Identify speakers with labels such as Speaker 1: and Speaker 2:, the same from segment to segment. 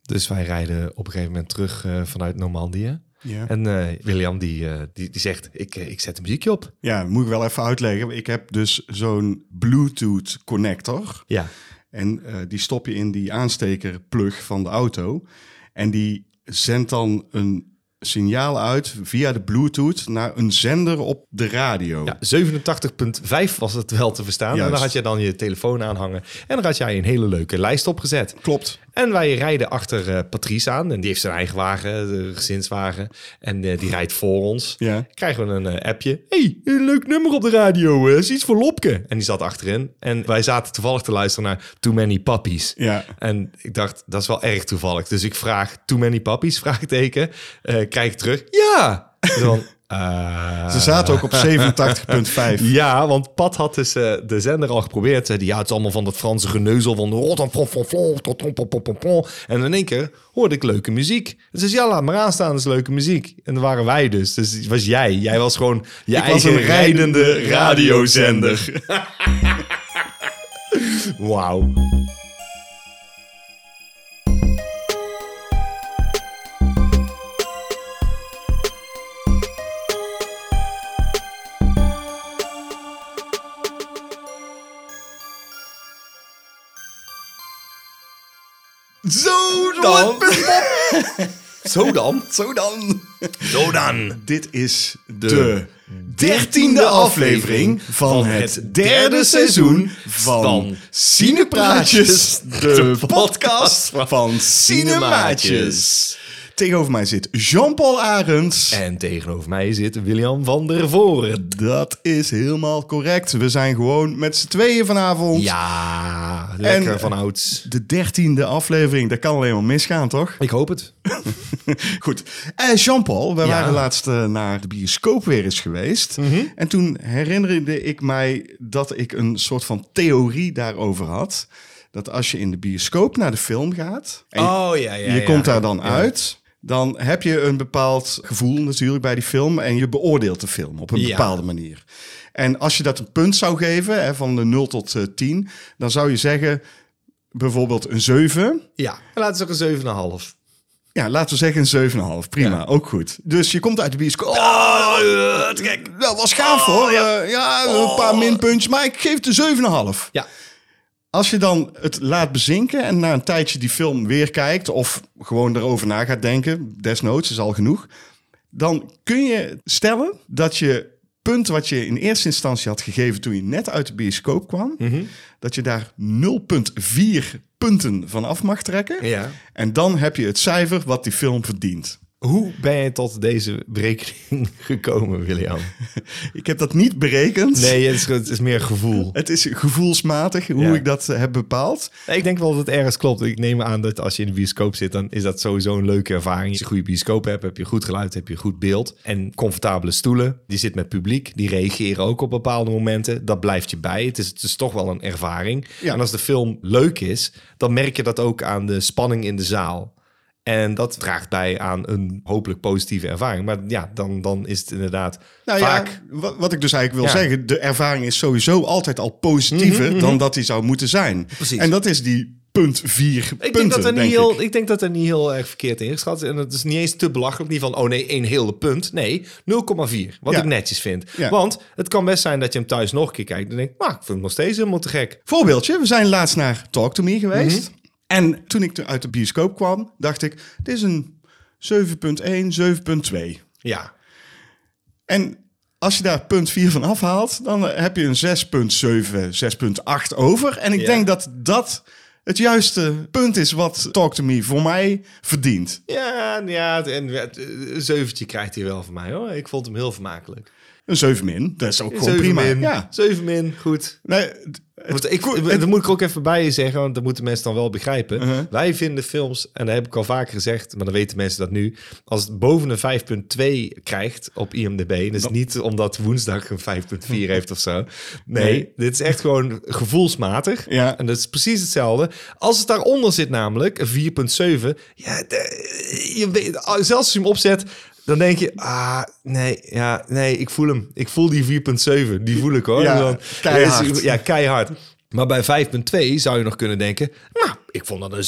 Speaker 1: Dus wij rijden op een gegeven moment terug eh, vanuit Normandië.
Speaker 2: Ja.
Speaker 1: En eh, William die, eh, die, die zegt, ik, eh, ik zet een muziekje op.
Speaker 2: ja, moet ik wel even uitleggen. Ik heb dus zo'n Bluetooth connector.
Speaker 1: Ja.
Speaker 2: En eh, die stop je in die aanstekerplug van de auto. En die zendt dan een signaal uit via de Bluetooth naar een zender op de radio.
Speaker 1: ja 87.5 was het wel te verstaan. En
Speaker 2: Juist.
Speaker 1: dan had je dan je telefoon aanhangen. En dan had jij een hele leuke lijst opgezet.
Speaker 2: Klopt.
Speaker 1: En wij rijden achter eh, Patrice aan. En die heeft zijn eigen wagen, de gezinswagen. En eh, die rijdt voor ons.
Speaker 2: Ja.
Speaker 1: Krijgen we een eh, appje. hey, een leuk nummer op de radio. eh, is iets voor Lopke. En die zat achterin. En wij zaten toevallig te luisteren naar Too Many Puppies.
Speaker 2: Ja.
Speaker 1: En ik dacht, dat is wel erg toevallig. Dus ik vraag, Too Many Puppies? Vraagteken. Eh, krijg ik terug, ja! En Dan, eh,
Speaker 2: Ze zaten ook op 87.5.
Speaker 1: ja, want Pat had dus eh, de zender al geprobeerd. Zei die, ja, het is allemaal van dat Franse geneuzel van... rotan, fron, fron, fron, tot, tom, pom, pom, pom, pom. En in één keer hoorde ik leuke muziek. Dus ja, laat maar aanstaan, dat is leuke muziek. En daar waren wij dus. Dus het was jij. Jij was gewoon je
Speaker 2: Ik
Speaker 1: eigen
Speaker 2: was een
Speaker 1: rijdende
Speaker 2: rijdende
Speaker 1: radiozender. Wauw.
Speaker 2: Zo
Speaker 1: Dan. Zo dan.
Speaker 2: Zo dan.
Speaker 1: Zo dan.
Speaker 2: Dit is de,
Speaker 1: De
Speaker 2: dertiende aflevering van het derde seizoen van Cinepraatjes, de podcast van Cinemaatjes. Tegenover mij zit Jean-Paul Arends.
Speaker 1: En tegenover mij zit William van der Voren.
Speaker 2: Dat is helemaal correct. We zijn gewoon met z'n tweeën vanavond.
Speaker 1: Ja, lekker
Speaker 2: En-
Speaker 1: van ouds.
Speaker 2: De dertiende aflevering, dat kan alleen maar misgaan, toch?
Speaker 1: Ik hoop het.
Speaker 2: Goed. Eh, Jean-Paul, wij
Speaker 1: Ja. Mhm.
Speaker 2: waren laatst eh, naar de bioscoop weer eens geweest. En toen herinnerde ik mij dat ik een soort van theorie daarover had. Dat als je in de bioscoop naar de film gaat en je-
Speaker 1: Oh ja, ja.
Speaker 2: je komt daar dan uit, dan heb je een bepaald gevoel natuurlijk bij die film en je beoordeelt de film op een
Speaker 1: Ja.
Speaker 2: bepaalde manier. En als je dat een punt zou geven, hè, van de 0 tot eh, 10, dan zou je zeggen bijvoorbeeld een 7.
Speaker 1: Ja, laten we zeggen een 7,5.
Speaker 2: Ja, laten we zeggen een 7,5. Prima,
Speaker 1: Ja.
Speaker 2: ook goed. Dus je komt uit de bioscoop.
Speaker 1: Oh, eh, te gek. Oh,
Speaker 2: Dat was gaaf hoor. Eh, Ja, een paar minpuntjes, maar ik geef het een 7,5.
Speaker 1: Ja,
Speaker 2: Als je dan het laat bezinken en na een tijdje die film weer kijkt... of gewoon erover na gaat denken, desnoods is al genoeg... dan kun je stellen dat je punt wat je in eerste instantie had gegeven... toen je net uit de bioscoop kwam...
Speaker 1: Mhm.
Speaker 2: dat je daar 0,4 punten van af mag trekken.
Speaker 1: Ja.
Speaker 2: En dan heb je het cijfer wat die film verdient.
Speaker 1: hoe ben je tot deze berekening gekomen, William?
Speaker 2: Ik heb dat niet berekend.
Speaker 1: Nee, het is, het is meer gevoel.
Speaker 2: Het is gevoelsmatig hoe
Speaker 1: Ja.
Speaker 2: ik dat eh, heb bepaald.
Speaker 1: Nee, ik denk wel dat het ergens klopt. Ik neem aan dat als je in de bioscoop zit, dan is dat sowieso een leuke ervaring. Als je een goede bioscoop hebt, heb je goed geluid, heb je goed beeld. En comfortabele stoelen. Die zit met publiek. Die reageren ook op bepaalde momenten. Dat blijft je bij. Het is, het is toch wel een ervaring.
Speaker 2: Ja.
Speaker 1: En als de film leuk is, dan merk je dat ook aan de spanning in de zaal. En dat draagt bij aan een hopelijk positieve ervaring. Maar ja, dan, dan is het inderdaad
Speaker 2: Nou
Speaker 1: vaak...
Speaker 2: ja, wat, wat ik dus eigenlijk wil
Speaker 1: Ja. Mhm,
Speaker 2: zeggen, de ervaring is sowieso altijd al positiever dan dat die zou moeten zijn.
Speaker 1: Precies.
Speaker 2: En dat is die punt vier
Speaker 1: Ik
Speaker 2: punten,
Speaker 1: denk, dat er niet
Speaker 2: denk
Speaker 1: heel,
Speaker 2: ik.
Speaker 1: ik. denk dat er niet heel erg verkeerd in geschat is. En het is niet eens te belachelijk. Niet van, oh nee, één hele punt. Nee, 0,4. Wat
Speaker 2: Ja.
Speaker 1: ik netjes vind.
Speaker 2: Ja.
Speaker 1: Want het kan best zijn dat je hem thuis nog een keer kijkt. En denkt, maar ik vind hem nog steeds helemaal te gek.
Speaker 2: Voorbeeldje, we zijn laatst naar Talk To Me geweest.
Speaker 1: Mhm.
Speaker 2: En toen ik uit de bioscoop kwam, dacht ik, dit is een 7.1, 7.2.
Speaker 1: Ja.
Speaker 2: En als je daar punt 4 van afhaalt, dan eh, heb je een 6,7, 6,8 over. En ik
Speaker 1: Ja.
Speaker 2: denk dat dat het juiste punt is wat Talk To Me voor mij verdient.
Speaker 1: Ja, ja en het, eh, een zeventje krijgt hij wel van mij hoor. Ik vond hem heel vermakelijk.
Speaker 2: Een 7 min, dat is ook gewoon
Speaker 1: Zeven
Speaker 2: prima.
Speaker 1: min.
Speaker 2: Ja.
Speaker 1: Zeven min, goed.
Speaker 2: Nee, d- het-
Speaker 1: Want ik, dat moet ik er ook even bij zeggen, want dat moeten mensen dan wel begrijpen.
Speaker 2: Uh-huh.
Speaker 1: Wij vinden films, en dat heb ik al vaker gezegd, maar dan weten mensen dat nu. Als het boven een 5.2 krijgt op IMDb, dus niet omdat woensdag een 5.4 heeft of zo. Nee,
Speaker 2: Nee.
Speaker 1: dit is echt gewoon gevoelsmatig.
Speaker 2: Ja.
Speaker 1: En dat is precies hetzelfde. Als het daaronder zit namelijk, een 4.7, ja, de- je weet, zelfs als je hem opzet... Dan denk je, ah, nee, ja, nee, ik voel hem. Ik voel die 4,7. Die voel ik hoor.
Speaker 2: Ja,
Speaker 1: En Oh, dan,
Speaker 2: keihard.
Speaker 1: ja, keihard. Maar bij 5.2 zou je nog kunnen denken, nou, Ik vond dat een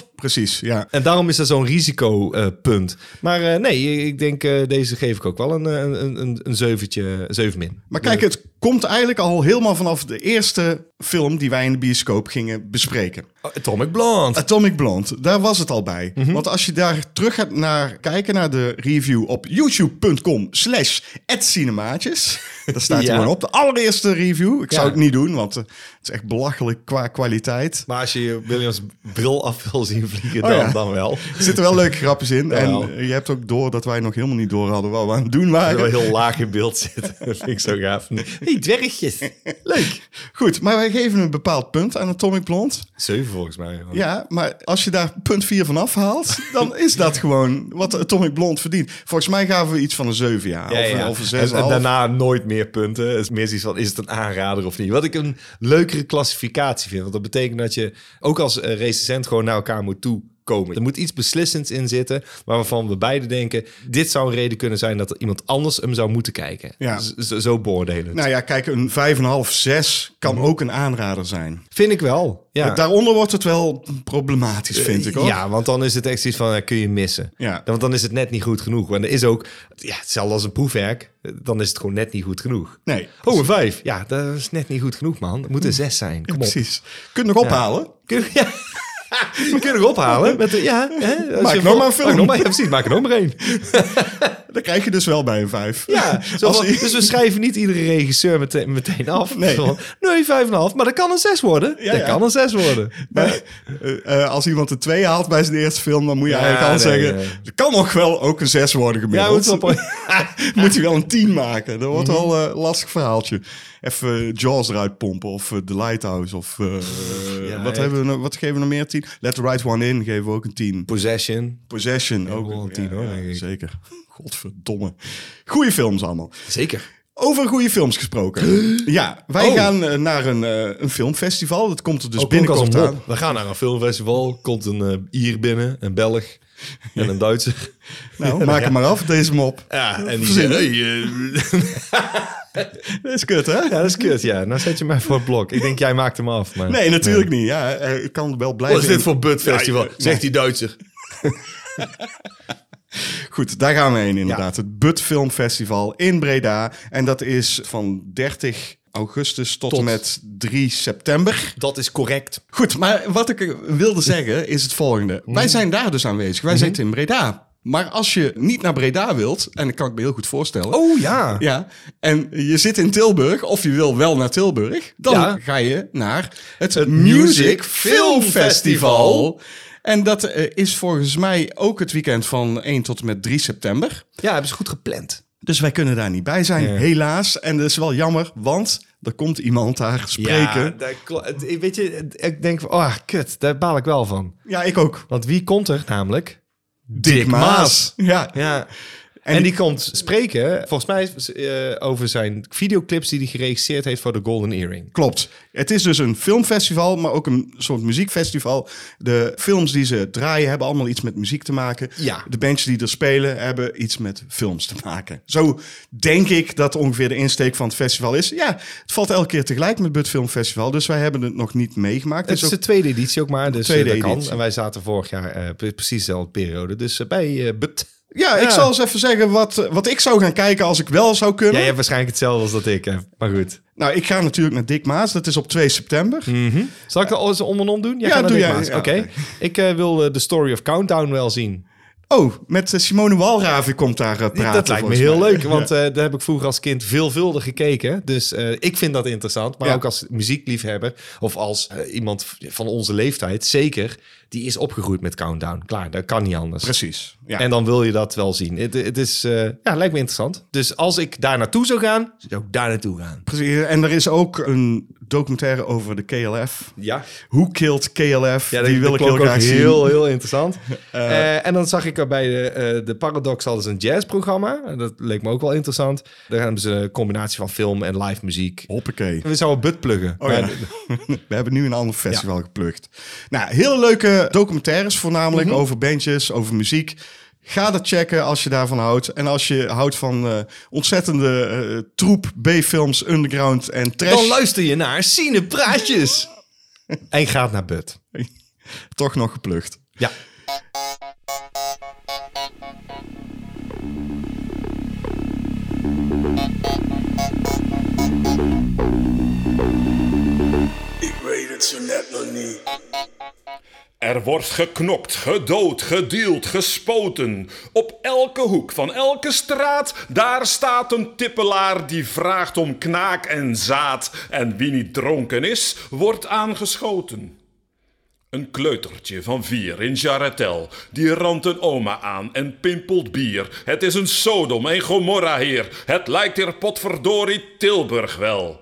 Speaker 1: 6,5.
Speaker 2: Precies, ja.
Speaker 1: En daarom is dat zo'n risicopunt. maar eh, nee, ik denk eh, deze geef ik ook wel een, eh, een, een, een zeventje, een zeven min.
Speaker 2: Maar kijk, het komt eigenlijk al helemaal vanaf de eerste film die wij in de bioscoop gingen bespreken.
Speaker 1: Atomic Blonde.
Speaker 2: Atomic Blonde, daar was het al bij.
Speaker 1: Mhm.
Speaker 2: Want als je daar terug gaat naar kijken naar de review op youtube.com slash cinemaatjes. Daar staat hij
Speaker 1: Ja.
Speaker 2: gewoon op. De allereerste review. Ik zou
Speaker 1: Ja.
Speaker 2: het niet doen, want eh, het is echt belachelijk qua kwaliteit.
Speaker 1: Maar als je je Williams bril af wil zien vliegen,
Speaker 2: Oh
Speaker 1: dan,
Speaker 2: ja.
Speaker 1: dan wel.
Speaker 2: Er zitten wel leuke grapjes in.
Speaker 1: Jawel.
Speaker 2: En eh, je hebt ook door dat wij nog helemaal niet door hadden wat we aan het doen waren.
Speaker 1: Zo heel laag in beeld zitten. Dat vind ik zo gaaf. hey, dwergjes. Leuk.
Speaker 2: Goed, maar wij geven een bepaald punt aan Atomic Blonde.
Speaker 1: Zeven volgens mij.
Speaker 2: Ja, maar als je daar punt 4 van afhaalt, dan is dat gewoon wat Atomic Blonde verdient. Volgens mij gaven we iets van een 7 jaar of, een- of een 6
Speaker 1: en, en daarna nooit meer punten. Het is meer zoiets van, is het een aanrader of niet? Wat ik een leukere klassificatie vind. Want dat betekent dat je ook als eh, recensent gewoon naar elkaar moet toekomen. Er moet iets beslissends in zitten waarvan we beide denken... dit zou een reden kunnen zijn dat er iemand anders hem zou moeten kijken.
Speaker 2: Ja.
Speaker 1: Z- Zo, zo beoordelen.
Speaker 2: Nou ja, kijk, een 5,5, 6 kan ook een aanrader zijn.
Speaker 1: Vind ik wel. Mhm. Ja. Eh,
Speaker 2: Daaronder wordt het wel problematisch, vind ik hoor.
Speaker 1: Ja, want dan is het echt iets van, eh, kun je missen.
Speaker 2: Ja.
Speaker 1: Want dan is het net niet goed genoeg. En er is ook, ja, hetzelfde als een proefwerk, eh, dan is het gewoon net niet goed genoeg.
Speaker 2: Nee,
Speaker 1: Oh, een vijf. Ja, dat is net niet goed genoeg, man. Het moet een zes zijn. Kom op.
Speaker 2: precies. Kun je nog ophalen?
Speaker 1: Kun je, ja. We kunnen nog ophalen. Met de, ja, hè? Als
Speaker 2: Maak
Speaker 1: je
Speaker 2: nog
Speaker 1: vol-
Speaker 2: maar een film.
Speaker 1: Maak nog maar, ja, precies, maak er nog maar één.
Speaker 2: Dan krijg je dus wel bij een 5.
Speaker 1: Ja, zo
Speaker 2: Als
Speaker 1: van-
Speaker 2: i-
Speaker 1: dus we schrijven niet iedere regisseur meteen, meteen af.
Speaker 2: Nee.
Speaker 1: Zo van, nee, vijf en een half. Maar dat kan een zes worden.
Speaker 2: Ja,
Speaker 1: dat
Speaker 2: ja.
Speaker 1: kan een zes worden.
Speaker 2: Maar, eh, eh, als iemand een 2 haalt bij zijn eerste film, dan moet je
Speaker 1: Ja,
Speaker 2: eigenlijk al
Speaker 1: nee,
Speaker 2: zeggen...
Speaker 1: nee.
Speaker 2: Er kan nog wel ook een 6 worden
Speaker 1: Ja,
Speaker 2: gemiddeld.
Speaker 1: moet wel...
Speaker 2: moet hij wel een 10 maken. Dat
Speaker 1: Mhm.
Speaker 2: wordt wel een lastig verhaaltje. Even eh, Jaws eruit pompen of eh, The Lighthouse of... eh,
Speaker 1: ja,
Speaker 2: wat,
Speaker 1: echt.
Speaker 2: hebben we, nog- wat geven we nog meer? 10? Let the Right One In geven we ook een 10.
Speaker 1: Possession.
Speaker 2: Possession ook.
Speaker 1: wel een
Speaker 2: ja,
Speaker 1: 10 hoor,
Speaker 2: ja,
Speaker 1: denk ik.
Speaker 2: Zeker. Godverdomme. Goeie films allemaal.
Speaker 1: Zeker.
Speaker 2: Over goede films gesproken. Ja, wij
Speaker 1: Oh.
Speaker 2: gaan eh, naar een, eh, een filmfestival. Dat komt er dus
Speaker 1: Ook
Speaker 2: binnenkort
Speaker 1: klonk als een
Speaker 2: aan.
Speaker 1: mop. We gaan naar een filmfestival. Komt een eh, Ier binnen, een Belg en een Duitser.
Speaker 2: Nou, maak hem maar af, deze mop.
Speaker 1: Ja, en die
Speaker 2: Verzinnen.
Speaker 1: zeggen, hey, eh,
Speaker 2: Dat is kut, hè?
Speaker 1: ja, dat is kut. Ja, nou zet je mij voor het blok. Ik denk, jij maakt hem af. Maar...
Speaker 2: Nee, natuurlijk niet. Ja, eh, ik kan wel blijven.
Speaker 1: Wat is dit
Speaker 2: in-
Speaker 1: voor butfestival?
Speaker 2: Ja,
Speaker 1: Zegt die Duitser.
Speaker 2: Goed, daar gaan we heen inderdaad. Het Bud Film Festival in Breda. En dat is van 30 augustus tot, en
Speaker 1: Tot.
Speaker 2: met 3 september.
Speaker 1: Dat is correct.
Speaker 2: Goed, maar wat ik wilde zeggen is het volgende.
Speaker 1: Mhm.
Speaker 2: Wij zijn daar dus aanwezig. Wij zitten in Breda. Maar als je niet naar Breda wilt, en dat kan ik me heel goed voorstellen.
Speaker 1: Oh ja.
Speaker 2: Ja, en je zit in Tilburg, of je wil wel naar Tilburg, dan
Speaker 1: Ja.
Speaker 2: ga je naar het, Music
Speaker 1: Music
Speaker 2: Film
Speaker 1: Film Festival.
Speaker 2: Festival. En dat eh, is volgens mij ook het weekend van 1 tot en met 3 september.
Speaker 1: Ja, hebben ze goed gepland.
Speaker 2: Dus wij kunnen daar niet bij zijn,
Speaker 1: Ja.
Speaker 2: helaas. En dat is wel jammer, want er komt iemand daar spreken.
Speaker 1: Ja,
Speaker 2: Ja,
Speaker 1: dat klo- het- weet je, ik denk van, oh kut, daar baal ik wel van.
Speaker 2: ik ook.
Speaker 1: Want wie komt er namelijk?
Speaker 2: Dick Maas. Ja.
Speaker 1: Ja. En, die komt spreken, volgens mij, eh, over zijn videoclips die hij geregisseerd heeft voor de Golden Earring.
Speaker 2: Klopt. Het is dus een filmfestival, maar ook een soort muziekfestival. De films die ze draaien hebben allemaal iets met muziek te maken.
Speaker 1: Ja.
Speaker 2: De bands die er spelen hebben iets met films te maken. Zo denk ik dat ongeveer de insteek van het festival is. Ja, het valt elke keer tegelijk met het Film Festival, dus wij hebben het nog niet meegemaakt.
Speaker 1: Het is
Speaker 2: Dus
Speaker 1: de tweede editie ook maar, dus
Speaker 2: Tweede
Speaker 1: tweede dat
Speaker 2: editie.
Speaker 1: kan. En wij zaten vorig jaar eh, pre- precies dezelfde periode, dus eh, bij eh But.
Speaker 2: ook- ja, ik
Speaker 1: Ja.
Speaker 2: zal eens even zeggen wat, eh, wat ik zou gaan kijken als ik wel zou kunnen.
Speaker 1: Jij hebt waarschijnlijk hetzelfde als dat ik heb, maar goed.
Speaker 2: Nou, ik ga natuurlijk naar Dick Maas, dat is op 2 september.
Speaker 1: Hmm. Zal ik dat eens om en om doen? Jij
Speaker 2: Eh, Ja,
Speaker 1: gaat naar
Speaker 2: doe
Speaker 1: Dick
Speaker 2: jij.
Speaker 1: Maas.
Speaker 2: Ja,
Speaker 1: Oké,
Speaker 2: oké.
Speaker 1: ik eh, wil eh, de Story of Countdown wel zien.
Speaker 2: Oh, met eh, Simone Walraven komt daar eh, praten.
Speaker 1: dat lijkt me
Speaker 2: volgens
Speaker 1: heel
Speaker 2: mij.
Speaker 1: leuk, want eh, daar heb ik vroeger als kind veelvuldig gekeken. Dus eh, ik vind dat interessant. Maar
Speaker 2: Ja.
Speaker 1: ook als muziekliefhebber of als eh, iemand v- van onze leeftijd, zeker, die is opgegroeid met Countdown. Klaar, dat kan niet anders.
Speaker 2: Precies. Ja.
Speaker 1: En dan wil je dat wel zien. Het, het is, eh, ja, lijkt me interessant. Dus als ik daar naartoe zou gaan, zou ik daar naartoe gaan.
Speaker 2: Precies. En er is ook een documentaire over de KLF.
Speaker 1: Ja,
Speaker 2: Hoe killed KLF?
Speaker 1: ja
Speaker 2: die wil ik heel
Speaker 1: ook
Speaker 2: graag zien.
Speaker 1: heel, heel interessant. Eh, en dan zag ik er bij de, eh, de Paradox hadden ze een jazzprogramma. En Dat leek me ook wel interessant. Daar hebben ze een combinatie van film en live muziek.
Speaker 2: Hoppakee.
Speaker 1: We zouden but pluggen.
Speaker 2: Oh, ja.
Speaker 1: Maar-
Speaker 2: We hebben nu een ander festival geplukt. Nou, hele leuke documentaires voornamelijk
Speaker 1: Mhm.
Speaker 2: over bandjes, over muziek. Ga dat checken als je daarvan houdt. En als je houdt van eh, ontzettende eh, troep B-films, underground en trash.
Speaker 1: Dan luister je naar Sine Praatjes. en gaat naar Bud.
Speaker 2: Toch nog geplukt.
Speaker 1: Ja.
Speaker 3: Ik weet het zo net nog niet.
Speaker 4: Er wordt geknokt, gedood, gedeeld, gespoten. Op elke hoek van elke straat, daar staat een tippelaar die vraagt om knaak en zaad. En wie niet dronken is, wordt aangeschoten. Een kleutertje van vier in Jarretel, die ramt een oma aan en pimpelt bier. Het is een Sodom en Gomorra, heer. Het lijkt hier potverdorie Tilburg wel.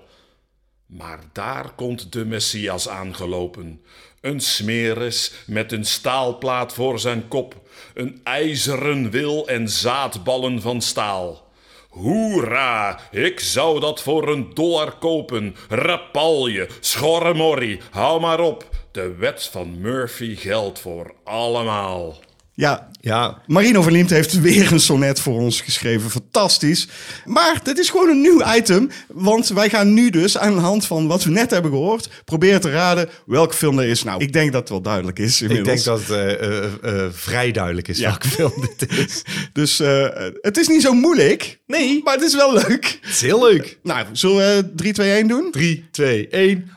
Speaker 4: Maar daar komt de Messias aangelopen. Een smeris met een staalplaat voor zijn kop, een ijzeren wil en zaadballen van staal. Hoera, ik zou dat voor een dollar kopen. Rapalje, schorremorrie, hou maar op. De wet van Murphy geldt voor allemaal.
Speaker 2: Ja,
Speaker 1: Ja,
Speaker 2: Marino van Liemt heeft weer een sonnet voor ons geschreven. Fantastisch. Maar dit is gewoon een nieuw item. Want wij gaan nu dus aan de hand van wat we net hebben gehoord... proberen te raden welke film er is. Nou, ik denk dat het wel duidelijk is
Speaker 1: ik
Speaker 2: inmiddels.
Speaker 1: denk dat het eh, eh, eh, vrij duidelijk is
Speaker 2: Ja.
Speaker 1: welke film dit is.
Speaker 2: Dus eh, het is niet zo moeilijk. Nee. Maar het is wel leuk.
Speaker 1: Het is heel leuk.
Speaker 2: Nou, zullen we 3, 2, 1 doen?
Speaker 1: 3, 2, 1.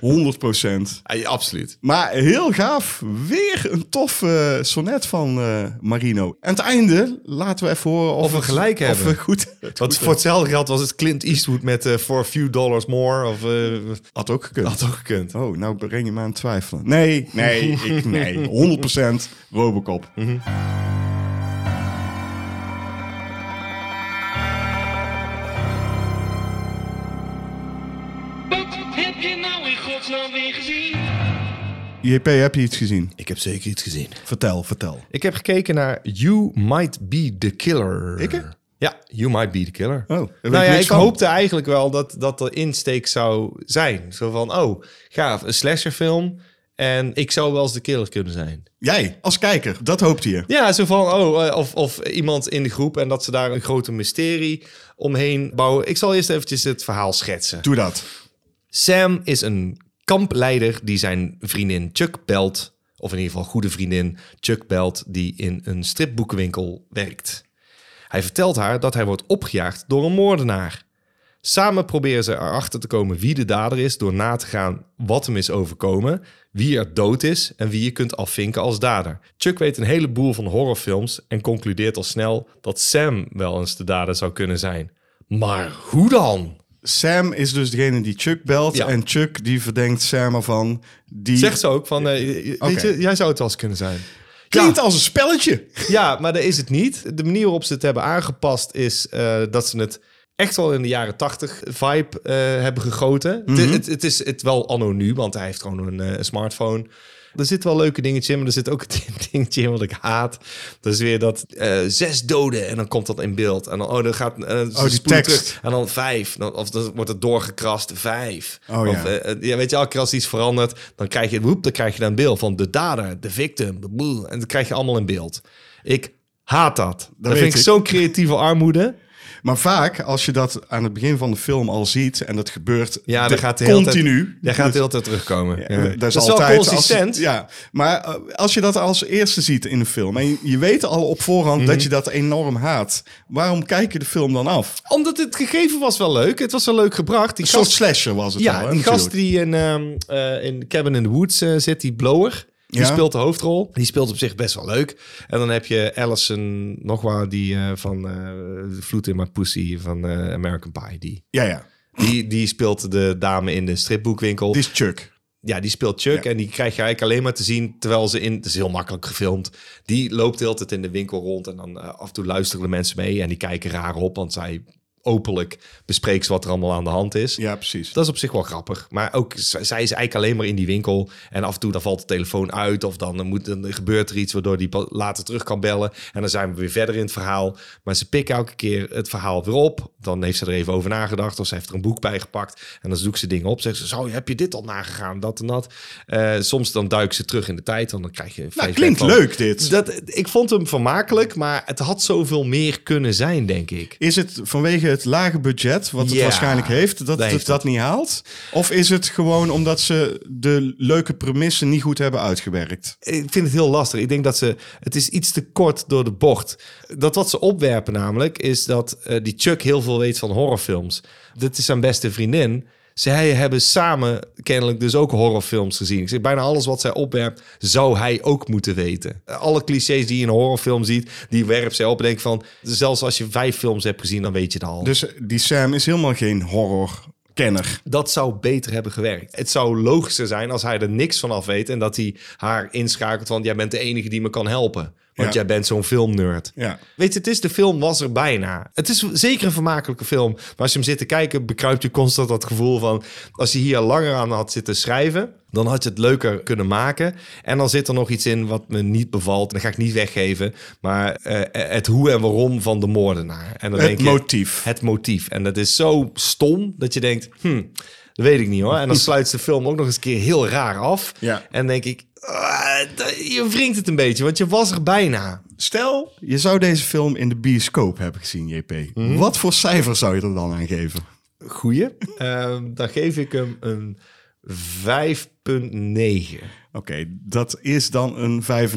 Speaker 2: 100 procent.
Speaker 1: absoluut.
Speaker 2: Maar heel gaaf. Weer een tof eh, sonnet van eh, Marino. Aan het einde laten we even horen of,
Speaker 1: Of we
Speaker 2: het-
Speaker 1: gelijk
Speaker 2: of
Speaker 1: hebben.
Speaker 2: we goed
Speaker 1: Want voor hetzelfde geld was het Clint Eastwood met eh, For a Few Dollars More. Of, eh,
Speaker 2: Had ook gekund.
Speaker 1: had ook gekund.
Speaker 2: Oh, nou breng je me aan het twijfelen. Nee, nee, ik, nee. 100% Robocop.
Speaker 5: Wat heb je nou in godsnaam weer gezien?
Speaker 2: JP, heb je iets gezien?
Speaker 1: Ik heb zeker iets gezien.
Speaker 2: Vertel, vertel.
Speaker 1: Ik heb gekeken naar You Might Be The Killer.
Speaker 2: Ik, hè?
Speaker 1: Ja, You Might Be The Killer.
Speaker 2: daar weet ik
Speaker 1: nou ja,
Speaker 2: niks
Speaker 1: ik
Speaker 2: van.
Speaker 1: hoopte eigenlijk wel dat dat de insteek zou zijn. Zo van, oh, gaaf, een slasherfilm. En ik zou wel eens de killer kunnen zijn.
Speaker 2: Jij, als kijker, dat hoopte je.
Speaker 1: Ja, zo van, oh, eh, of, of iemand in de groep en dat ze daar een grote mysterie omheen bouwen. Ik zal eerst eventjes het verhaal schetsen.
Speaker 2: Doe dat.
Speaker 1: Sam is een kampleider die zijn vriendin Chuck belt. Of in ieder geval goede vriendin Chuck belt die in een stripboekenwinkel werkt. Hij vertelt haar dat hij wordt opgejaagd door een moordenaar. Samen proberen ze erachter te komen wie de dader is door na te gaan wat hem is overkomen, wie er dood is en wie je kunt afvinken als dader. Chuck weet een heleboel van horrorfilms en concludeert al snel dat Sam wel eens de dader zou kunnen zijn. Maar hoe dan?
Speaker 2: Sam is dus degene die Chuck belt.
Speaker 1: Ja.
Speaker 2: En Chuck die verdenkt Sam ervan. Die
Speaker 1: Zegt ze ook van, eh, weet
Speaker 2: Oké.
Speaker 1: je, jij zou het wel eens kunnen zijn.
Speaker 2: klinkt
Speaker 1: ja.
Speaker 2: als een spelletje.
Speaker 1: Ja, maar dat is het niet. De manier waarop ze het hebben aangepast is eh, dat ze het echt wel in de jaren tachtig vibe eh, hebben gegoten. Het-
Speaker 2: Mhm.
Speaker 1: het, het is het wel anno nu, want hij heeft gewoon een eh, smartphone. Er zit wel leuke dingetje in, maar er zit ook het dingetje in wat ik haat. Dat is weer dat eh, zes doden en dan komt dat in beeld. En dan, oh, dan gaat eh, ze
Speaker 2: die
Speaker 1: spoelen
Speaker 2: tekst.
Speaker 1: en dan vijf. Dan, of dan wordt het doorgekrast, vijf.
Speaker 2: Oh,
Speaker 1: of,
Speaker 2: ja.
Speaker 1: eh, eh, ja, weet je, elke keer als iets verandert, dan krijg je, woep, dan krijg je dan een beeld van de dader, de victim, de boel. En dat krijg je allemaal in beeld. Ik haat dat. Dat,
Speaker 2: weet
Speaker 1: vind ik
Speaker 2: ik.
Speaker 1: zo'n creatieve armoede.
Speaker 2: Maar vaak, als je dat aan het begin van de film al ziet... en dat gebeurt
Speaker 1: Ja,
Speaker 2: de-
Speaker 1: dat gaat de hele
Speaker 2: continu...
Speaker 1: Tijd, dat gaat de hele tijd terugkomen. Ja.
Speaker 2: Dat is,
Speaker 1: wel
Speaker 2: altijd als-
Speaker 1: consistent.
Speaker 2: ja, maar eh, als je dat als eerste ziet in de film... en je- je weet al op voorhand
Speaker 1: Mhm.
Speaker 2: dat je dat enorm haat... waarom kijk je de film dan af?
Speaker 1: Omdat het gegeven was wel leuk. Het was wel leuk gebracht. Die
Speaker 2: Een soort
Speaker 1: gast,
Speaker 2: slasher was het
Speaker 1: ja,
Speaker 2: al, hè,
Speaker 1: die gast
Speaker 2: natuurlijk.
Speaker 1: die in, ehm, eh, in Cabin in the Woods eh, zit, die blower. Die
Speaker 2: Ja.
Speaker 1: speelt de hoofdrol. Die speelt op zich best wel leuk. En dan heb je Allison nog waar die eh, van eh, de Vloed in mijn Pussy van eh, American Pie. Die,
Speaker 2: Ja, ja.
Speaker 1: die, die speelt de dame in de stripboekwinkel.
Speaker 2: Dit is Chuck.
Speaker 1: ja, die speelt Chuck
Speaker 2: Ja.
Speaker 1: en die krijg je eigenlijk alleen maar te zien terwijl ze in... Het is heel makkelijk gefilmd. Die loopt de hele tijd in de winkel rond en dan eh, af en toe luisteren de mensen mee en die kijken raar op, want zij openlijk bespreekt ze wat er allemaal aan de hand is.
Speaker 2: Ja, precies.
Speaker 1: Dat is op zich wel grappig. Maar ook, z- zij is eigenlijk alleen maar in die winkel. En af en toe dan valt de telefoon uit. Of dan, eh, moet, dan gebeurt er iets waardoor die pa- later terug kan bellen. En dan zijn we weer verder in het verhaal. Maar ze pikken elke keer het verhaal weer op. Dan heeft ze er even over nagedacht. Of ze heeft er een boek bij gepakt. En dan zoekt ze dingen op. Zegt ze, zo, heb je dit al nagegaan? Dat en dat. Eh, soms dan duiken ze terug in de tijd. Want dan krijg je...
Speaker 2: Nou,
Speaker 1: flashback
Speaker 2: klinkt
Speaker 1: van-
Speaker 2: leuk dit.
Speaker 1: Dat, ik vond hem vermakelijk. Maar het had zoveel meer kunnen zijn, denk ik.
Speaker 2: Is het vanwege het lage budget, wat het
Speaker 1: Ja,
Speaker 2: waarschijnlijk heeft, dat
Speaker 1: dat
Speaker 2: het
Speaker 1: heeft
Speaker 2: dat niet haalt? Of is het gewoon omdat ze de leuke premissen niet goed hebben uitgewerkt?
Speaker 1: ik vind het heel lastig. Ik denk dat ze. Het is iets te kort door de bocht. Dat wat ze opwerpen, namelijk, is dat eh, die Chuck heel veel weet van horrorfilms. Dat is zijn beste vriendin. Zij hebben samen kennelijk dus ook horrorfilms gezien. Ik zeg, bijna alles wat zij opwerpt, zou hij ook moeten weten. Alle clichés die je in een horrorfilm ziet, die werpt zij op. En denk van, zelfs als je vijf films hebt gezien, dan weet je het al.
Speaker 2: Dus die Sam is helemaal geen horrorkenner.
Speaker 1: Dat zou beter hebben gewerkt. Het zou logischer zijn als hij er niks van af weet en dat hij haar inschakelt van jij bent de enige die me kan helpen. Want
Speaker 2: Ja.
Speaker 1: jij bent zo'n filmnerd.
Speaker 2: Ja.
Speaker 1: Weet je, het is de film was er bijna. Het is zeker een vermakelijke film. Maar als je hem zit te kijken, bekruipt je constant dat gevoel van... als je hier langer aan had zitten schrijven, dan had je het leuker kunnen maken. En dan zit er nog iets in wat me niet bevalt. Dat ga ik niet weggeven. Maar eh, het hoe en waarom van de moordenaar. En dan
Speaker 2: Het
Speaker 1: denk je,
Speaker 2: motief.
Speaker 1: Het motief. En dat is zo stom dat je denkt... Hm, dat weet ik niet hoor. En dan sluit de film ook nog eens een keer heel raar af.
Speaker 2: Ja.
Speaker 1: En denk ik, ah, d- je wringt het een beetje, want je was er bijna.
Speaker 2: Stel, je zou deze film in de bioscoop hebben gezien, JP. Wat voor cijfer zou je er dan aan geven?
Speaker 1: goeie. Ehm, dan geef ik hem een 5,9.
Speaker 2: Oké, dat is dan een 5,5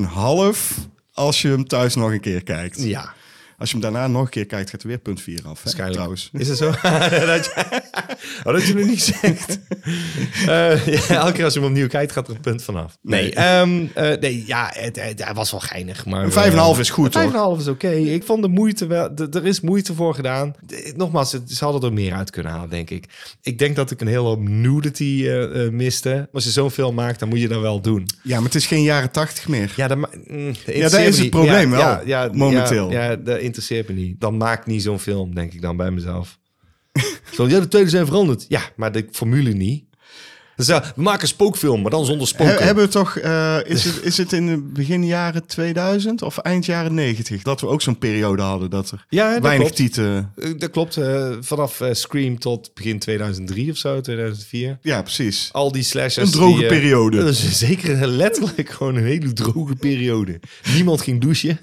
Speaker 2: als je hem thuis nog een keer kijkt.
Speaker 1: Ja,
Speaker 2: Als je hem daarna nog een keer kijkt, gaat er weer punt 4 af. Hè?
Speaker 1: waarschijnlijk.
Speaker 2: Trouwens.
Speaker 1: Is dat zo? dat, je, oh, dat je het niet zegt. Eh, ja, elke keer als je hem opnieuw kijkt, gaat er een punt vanaf.
Speaker 2: Nee.
Speaker 1: Nee, ehm, eh, nee ja, het, het- hij was wel geinig. Maar,
Speaker 2: Een 5,5 is goed,
Speaker 1: Een
Speaker 2: hoor.
Speaker 1: 5,5 is oké. Ik vond de moeite wel. d- Er is moeite voor gedaan. D- Nogmaals, het- ze hadden er meer uit kunnen halen, denk ik. Ik denk dat ik een hele hoop nudity eh, eh, miste. Als je zo'n film maakt, dan moet je dat wel doen.
Speaker 2: Ja, maar het is geen jaren 80 meer.
Speaker 1: Ja, dat, ma- mm, dat interesseert
Speaker 2: daar is
Speaker 1: me
Speaker 2: het
Speaker 1: niet.
Speaker 2: probleem wel,
Speaker 1: ja,
Speaker 2: momenteel.
Speaker 1: Ja, dat interesseert me niet. Dan maakt niet zo'n film, denk ik dan bij mezelf. Zo, ja, de tweede zijn veranderd. Ja, maar de formule niet. Dus ja, we maken een spookfilm, maar dan zonder
Speaker 2: He-
Speaker 1: spoken.
Speaker 2: hebben we toch, eh, is, het, is het in de begin jaren 2000 of eind jaren 90 dat we ook zo'n periode hadden dat er
Speaker 1: Ja, dat
Speaker 2: weinig
Speaker 1: klopt.
Speaker 2: titelen.
Speaker 1: Eh, Dat klopt. eh, vanaf eh, Scream tot begin 2003 of zo, 2004.
Speaker 2: Ja, precies.
Speaker 1: Al die slashers.
Speaker 2: Een droge
Speaker 1: die, eh,
Speaker 2: periode.
Speaker 1: dat is zeker letterlijk gewoon een hele droge periode. Niemand ging douchen.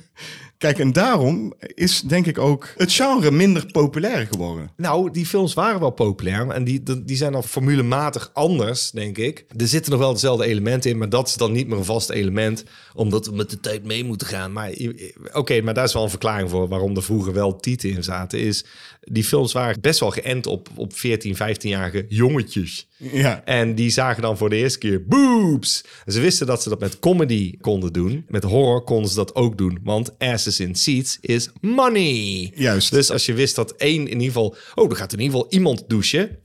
Speaker 2: Kijk, en daarom is denk ik ook het genre minder populair geworden.
Speaker 1: Nou, die films waren wel populair. En die, die zijn al formulematig anders, denk ik. Er zitten nog wel dezelfde elementen in, maar dat is dan niet meer een vast element. Omdat we met de tijd mee moeten gaan. Maar je- oké, maar daar is wel een verklaring voor waarom er vroeger wel tieten in zaten. Is die films waren best wel geënt op, op 14, 15-jarige jongetjes.
Speaker 2: Ja.
Speaker 1: En die zagen dan voor de eerste keer boobs. En ze wisten dat ze dat met comedy konden doen. Met horror konden ze dat ook doen. Want asses in seats is money.
Speaker 2: Juist.
Speaker 1: Dus als je wist dat één in ieder geval... Oh, er gaat in ieder geval iemand douchen.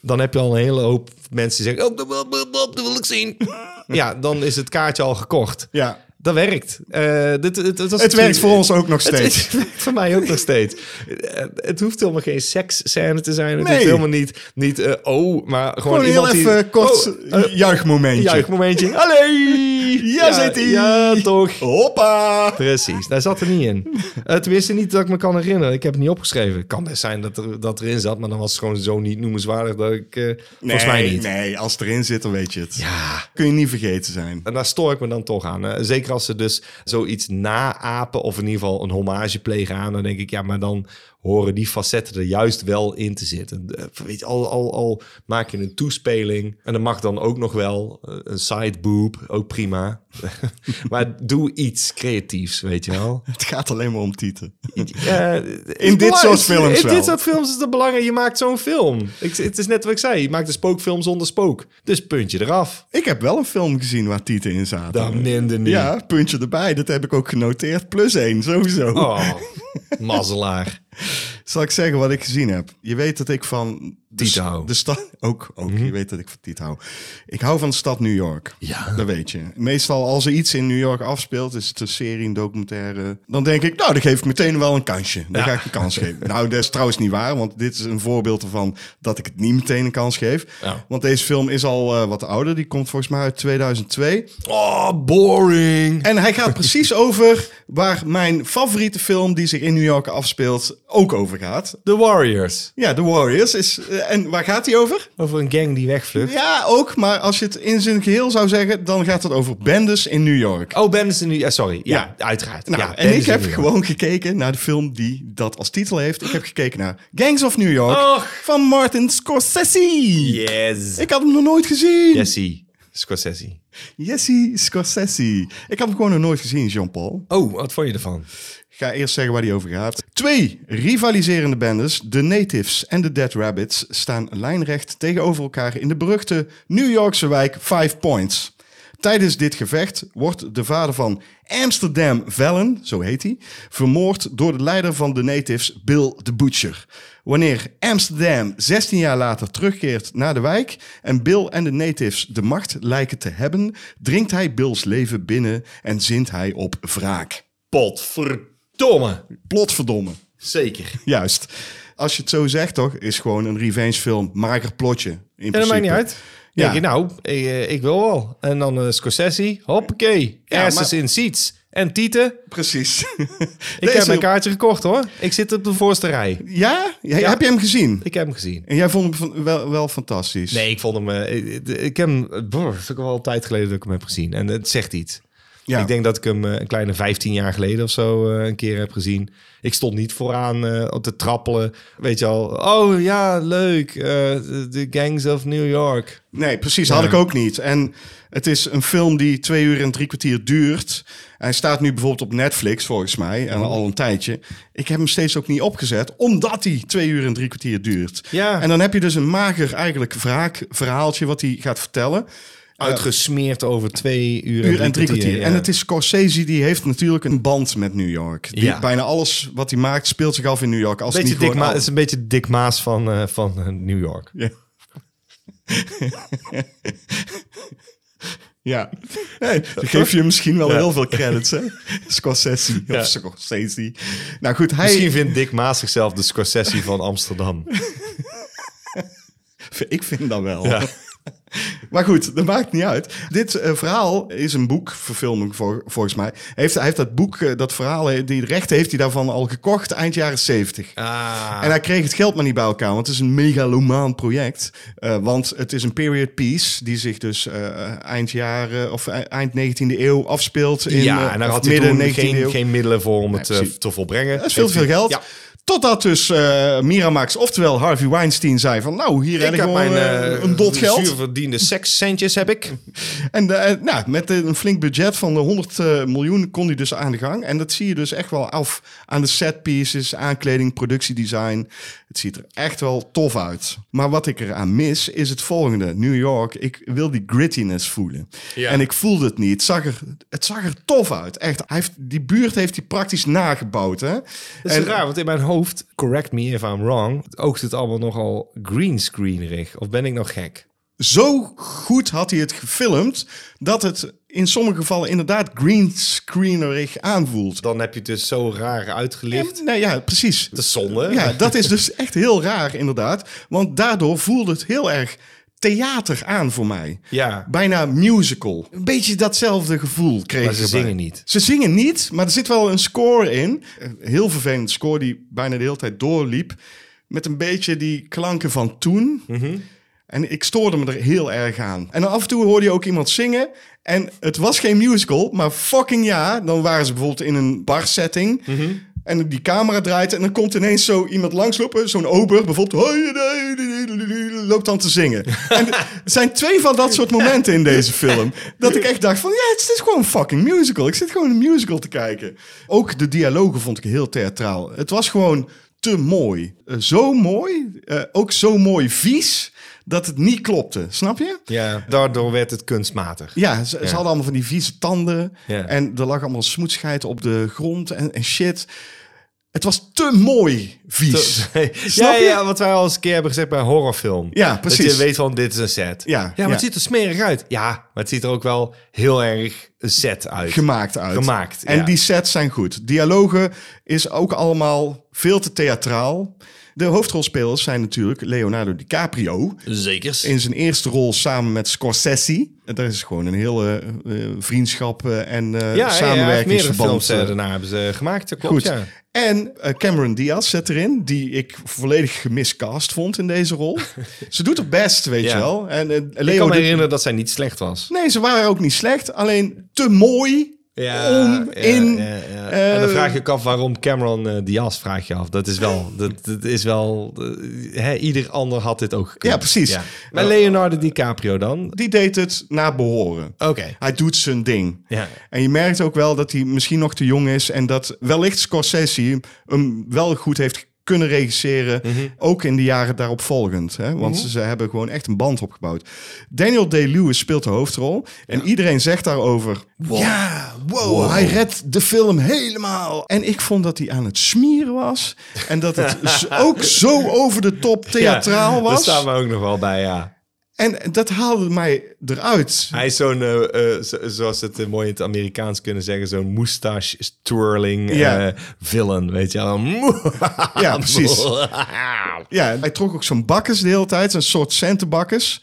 Speaker 1: Dan heb je al een hele hoop mensen die zeggen... Oh, dat wil, dat wil- dat wil ik zien. Ja, dan is het kaartje al gekocht.
Speaker 2: Ja.
Speaker 1: Dat werkt. Eh, dit, dit, dit was
Speaker 2: Het werkt voor ons ook nog
Speaker 1: Het-
Speaker 2: steeds.
Speaker 1: Het, werkt voor mij ook nog steeds. Eh, Het hoeft helemaal geen seksscène te zijn. Het
Speaker 2: Nee.
Speaker 1: hoeft helemaal niet, niet eh, oh, maar gewoon,
Speaker 2: Gewoon heel
Speaker 1: iemand
Speaker 2: even
Speaker 1: die...
Speaker 2: eh, kort
Speaker 1: Oh, eh,
Speaker 2: eh, juichmomentje.
Speaker 1: Juichmomentje. Allee!
Speaker 2: Ja, zit ie.
Speaker 1: Ja, toch.
Speaker 2: Hoppa!
Speaker 1: Precies, daar zat er niet in. Eh, tenminste, niet dat ik me kan herinneren. Ik heb het niet opgeschreven. Het kan best zijn dat, er, dat erin zat, maar dan was het gewoon zo niet noemenswaardig dat ik... eh, volgens mij niet. Ah.
Speaker 2: nee, als het erin zit, dan weet je het.
Speaker 1: Ja,
Speaker 2: Kun je niet vergeten zijn.
Speaker 1: En daar stoor ik me dan toch aan. Eh, Zeker als ze dus zoiets naapen of in ieder geval een hommage plegen aan. Dan denk ik, ja, maar dan horen die facetten er juist wel in te zitten. Eh, Weet je, al, al, al maak je een toespeling. En dan mag dan ook nog wel eh, een side boob, ook prima. maar doe iets creatiefs, weet je wel.
Speaker 2: Het gaat alleen maar om tieten.
Speaker 1: Eh,
Speaker 2: In dit
Speaker 1: belang-
Speaker 2: soort films
Speaker 1: In
Speaker 2: wel.
Speaker 1: dit soort films is het belangrijk. Je maakt zo'n film. Ik, het is net wat ik zei. Je maakt een spookfilm zonder spook. Dus puntje eraf.
Speaker 2: Ik heb wel een film gezien waar tieten in zaten.
Speaker 1: Dan neemde niet.
Speaker 2: Ja, puntje erbij. Dat heb ik ook genoteerd. Plus één, sowieso.
Speaker 1: Oh, mazzelaar.
Speaker 2: Zal ik zeggen wat ik gezien heb? Je weet dat ik van... de
Speaker 1: Tieten
Speaker 2: s-
Speaker 1: hou. Mhm.
Speaker 2: De stad... Ook, ook. Je weet dat ik van Tiet hou. Ik hou van de stad New York.
Speaker 1: Ja.
Speaker 2: Dat weet je. Meestal als er iets in New York afspeelt, is het een serie, een documentaire. Dan denk ik, nou, dan geef ik meteen wel een kansje. Dan ga ik een kans geven. Nou, dat is trouwens niet waar, want dit is een voorbeeld ervan dat ik het niet meteen een kans geef.
Speaker 1: Ja.
Speaker 2: Want deze film is al eh, wat ouder. Die komt volgens mij uit 2002.
Speaker 1: Oh, boring.
Speaker 2: En hij gaat precies over waar mijn favoriete film die zich in New York afspeelt ook over gaat.
Speaker 1: The Warriors.
Speaker 2: Ja, The Warriors is... eh, en waar gaat die over?
Speaker 1: Over een gang die wegvlucht.
Speaker 2: Ja, ook, maar als je het in zijn geheel zou zeggen... dan gaat het over bendes in New York.
Speaker 1: Oh, Ben is er nu... Ja, sorry. Ja, uiteraard.
Speaker 2: Nou,
Speaker 1: ja, Ben
Speaker 2: en ik
Speaker 1: is er
Speaker 2: heb
Speaker 1: nu.
Speaker 2: gewoon gekeken naar de film die dat als titel heeft. Ik heb gekeken naar Gangs of New York van Martin Scorsese.
Speaker 1: Yes.
Speaker 2: Ik had hem nog nooit gezien.
Speaker 1: Jesse Scorsese.
Speaker 2: Jesse Scorsese. Ik had hem gewoon nog nooit gezien, Jean-Paul.
Speaker 1: Oh, wat vond je ervan?
Speaker 2: Ik ga eerst zeggen waar die over gaat. Twee rivaliserende bendes, de Natives en de Dead Rabbits, staan lijnrecht tegenover elkaar in de beruchte New Yorkse wijk Five Points. Tijdens dit gevecht wordt de vader van Amsterdam Vellen, zo heet hij, vermoord door de leider van de Natives, Bill the Butcher. Wanneer Amsterdam 16 jaar later terugkeert naar de wijk en Bill en de Natives de macht lijken te hebben, dringt hij Bills leven binnen en zint hij op wraak.
Speaker 1: Potverdomme.
Speaker 2: Plotverdomme.
Speaker 1: Zeker.
Speaker 2: Juist. Als je het zo zegt, toch, is gewoon een revengefilm mager plotje. In
Speaker 1: Ja,
Speaker 2: principe.
Speaker 1: dat maakt niet uit.
Speaker 2: Ja.
Speaker 1: Denk je, nou, ik, eh, ik wil wel. En dan eh, Scorsese, hoppakee.
Speaker 2: Ja,
Speaker 1: Asses
Speaker 2: maar-
Speaker 1: in seats. En tieten.
Speaker 2: Precies.
Speaker 1: Ik heb mijn kaartje gekocht hoor. Ik zit op de voorste rij.
Speaker 2: Ja? Ja,
Speaker 1: Ja.
Speaker 2: Heb je hem gezien?
Speaker 1: Ik heb hem gezien.
Speaker 2: En jij vond hem van- wel, wel fantastisch.
Speaker 1: Nee, ik vond hem... eh, ik, ik heb hem... Brr, het is ook al een tijd geleden dat ik hem heb gezien. En het zegt iets.
Speaker 2: Ja.
Speaker 1: Ik denk dat ik hem eh, een kleine 15 jaar geleden of zo eh, een keer heb gezien. Ik stond niet vooraan eh, op te trappelen. Weet je al, oh ja, leuk. eh, De Gangs of New York.
Speaker 2: Nee, precies. Had ik ook niet. En het is een film die twee uur en drie kwartier duurt. Hij staat nu bijvoorbeeld op Netflix, volgens mij.
Speaker 1: Oh.
Speaker 2: En al een tijdje. Ik heb hem steeds ook niet opgezet, omdat hij twee uur en drie kwartier duurt.
Speaker 1: Ja.
Speaker 2: En dan heb je dus een mager eigenlijk wraak verhaaltje wat hij gaat vertellen.
Speaker 1: Uitgesmeerd over twee uur,
Speaker 2: uur en drie kwartier.
Speaker 1: ja.
Speaker 2: En het is Scorsese, die heeft natuurlijk een band met New York. Die,
Speaker 1: Ja.
Speaker 2: Bijna alles wat hij maakt speelt zich af in New York. Als het
Speaker 1: beetje
Speaker 2: niet
Speaker 1: Dick
Speaker 2: gewoon
Speaker 1: Ma-
Speaker 2: al-
Speaker 1: is een beetje Dick Maas van, eh, van eh, New York.
Speaker 2: Ja. ja. Nee, dan geef je misschien wel heel veel credits, hè? Scorsese of Scorsese. Nou goed, hij...
Speaker 1: Misschien vindt Dick Maas zichzelf de Scorsese van Amsterdam.
Speaker 2: Ik vind dat wel. Maar goed, dat maakt niet uit. Dit eh, verhaal is een boekverfilming vol- volgens mij. Hij heeft, hij heeft dat boek, eh, dat verhaal, eh, die rechten heeft hij daarvan al gekocht eind jaren zeventig.
Speaker 1: Ah.
Speaker 2: En hij kreeg het geld maar niet bij elkaar, want het is een megalomaan project. Eh, want het is een period piece die zich dus eh, eind jaren of e- eind 19e eeuw afspeelt. In,
Speaker 1: ja,
Speaker 2: eh,
Speaker 1: en daar
Speaker 2: of
Speaker 1: had hij toen
Speaker 2: 19e
Speaker 1: geen,
Speaker 2: eeuw.
Speaker 1: geen middelen voor om het eh,
Speaker 2: precies.
Speaker 1: te volbrengen.
Speaker 2: Dat is veel te veel geld.
Speaker 1: Ja.
Speaker 2: Totdat dus eh, Miramax, oftewel Harvey Weinstein, zei van... nou, hier heb ik
Speaker 1: Ik heb
Speaker 2: gewoon
Speaker 1: mijn
Speaker 2: eh,
Speaker 1: eh,
Speaker 2: een dot geld.
Speaker 1: Zuurverdiende sekscentjes heb ik.
Speaker 2: En eh, nou, met een flink budget van de 100 eh, miljoen kon hij dus aan de gang. En dat zie je dus echt wel af aan de set pieces, aankleding, productiedesign. Het ziet er echt wel tof uit. Maar wat ik eraan mis is het volgende. New York, ik wil die grittiness voelen. En ik voelde het niet. Het zag er, het zag er tof uit. Echt, hij heeft, die buurt heeft hij praktisch nagebouwd. Hè?
Speaker 1: Dat is
Speaker 2: En-
Speaker 1: raar, want in mijn hoofd, correct me if I'm wrong, oogt het allemaal nogal greenscreenerig. Of ben ik nog gek?
Speaker 2: zo goed had hij het gefilmd dat het in sommige gevallen inderdaad greenscreenerig aanvoelt.
Speaker 1: Dan heb je het dus zo raar uitgelicht.
Speaker 2: En, nou ja, precies.
Speaker 1: De zonde.
Speaker 2: Ja, dat is dus echt heel raar inderdaad, want daardoor voelde het heel erg theater aan voor mij.
Speaker 1: Ja.
Speaker 2: Bijna musical. Een beetje datzelfde gevoel kreeg
Speaker 1: Maar ze
Speaker 2: ik erbij.
Speaker 1: zingen niet.
Speaker 2: Ze zingen niet, maar er zit wel een score in. Een heel vervelend score die bijna de hele tijd doorliep. Met een beetje die klanken van toen.
Speaker 1: Hm.
Speaker 2: En ik stoorde me er heel erg aan. En dan af en toe hoorde je ook iemand zingen. En het was geen musical, maar fucking ja. Dan waren ze bijvoorbeeld in een bar setting. En die camera draait en dan komt ineens zo iemand langslopen. Zo'n ober bijvoorbeeld. "Hoi, nee, nee, nee, nee," Loopt dan te zingen. En er zijn twee van dat soort momenten in deze film. Dat ik echt dacht van ja, het is gewoon een fucking musical. Ik zit gewoon een musical te kijken. Ook de dialogen vond ik heel theatraal. Het was gewoon te mooi. Eh, zo mooi, eh, ook zo mooi vies, dat het niet klopte. Snap je?
Speaker 1: Ja, daardoor werd het kunstmatig.
Speaker 2: Ja, ze, ze hadden allemaal van die vieze tanden.
Speaker 1: Ja.
Speaker 2: En er lag allemaal smoetsheid op de grond en, en shit. Het was te mooi vies.
Speaker 1: ja,
Speaker 2: Snap je?
Speaker 1: ja, wat wij al eens een keer hebben gezegd bij een horrorfilm.
Speaker 2: Ja,
Speaker 1: Dat
Speaker 2: precies.
Speaker 1: je weet van, dit is een set.
Speaker 2: Ja,
Speaker 1: ja maar
Speaker 2: ja.
Speaker 1: het ziet er smerig uit. Ja, maar het ziet er ook wel heel erg een set uit.
Speaker 2: Gemaakt uit.
Speaker 1: Gemaakt,
Speaker 2: En
Speaker 1: ja.
Speaker 2: die sets zijn goed. Dialogen is ook allemaal veel te theatraal. De hoofdrolspelers zijn natuurlijk Leonardo DiCaprio.
Speaker 1: Dus- Zekers.
Speaker 2: In zijn eerste rol samen met Scorsese. En Daar is gewoon een hele eh, vriendschap eh, en eh
Speaker 1: ja, ja, ja, hij heeft meerdere eh,
Speaker 2: samenwerkingsverband. eh,
Speaker 1: films eh, daarna hebben ze gemaakt. Dat klopt,
Speaker 2: Goed.
Speaker 1: ja.
Speaker 2: En eh, Cameron Diaz zet erin, die ik volledig gemiscast vond in deze rol. Ze doet het best, weet
Speaker 1: Ja.
Speaker 2: je wel. En, eh, Leo
Speaker 1: Ik kan me
Speaker 2: doet-
Speaker 1: herinneren dat zij niet slecht was.
Speaker 2: Nee, ze waren ook niet slecht, alleen te mooi om in...
Speaker 1: ja, ja.
Speaker 2: eh,
Speaker 1: en dan vraag je ook af waarom Cameron eh, Diaz vraag je af. Dat is wel, dat, dat is wel eh, hè, ieder ander had dit ook gekund.
Speaker 2: Ja, precies.
Speaker 1: Maar Leonardo DiCaprio dan?
Speaker 2: Die deed het naar behoren.
Speaker 1: Oké.
Speaker 2: Hij doet zijn ding.
Speaker 1: Ja.
Speaker 2: En je merkt ook wel dat hij misschien nog te jong is. En dat wellicht Scorsese hem wel goed heeft kunnen regisseren. Ook in de jaren daaropvolgend. Hè? Want ze hebben gewoon echt een band opgebouwd. Daniel Day-Lewis speelt de hoofdrol. En iedereen zegt daarover... Ja, wow, hij redt de film helemaal. En ik vond dat hij aan het smieren was. En dat het z- ook zo over de top theatraal
Speaker 1: Ja,
Speaker 2: was.
Speaker 1: Daar staan we ook nog wel bij, ja.
Speaker 2: En dat haalde mij eruit.
Speaker 1: Hij is zo'n, eh, eh, zo- zoals ze het eh, mooi in het Amerikaans kunnen zeggen, zo'n moustache twirling
Speaker 2: Ja.
Speaker 1: eh, villain, weet je wel.
Speaker 2: Ja, precies. Ja, hij trok ook zo'n bakkes de hele tijd, een soort centenbakkes.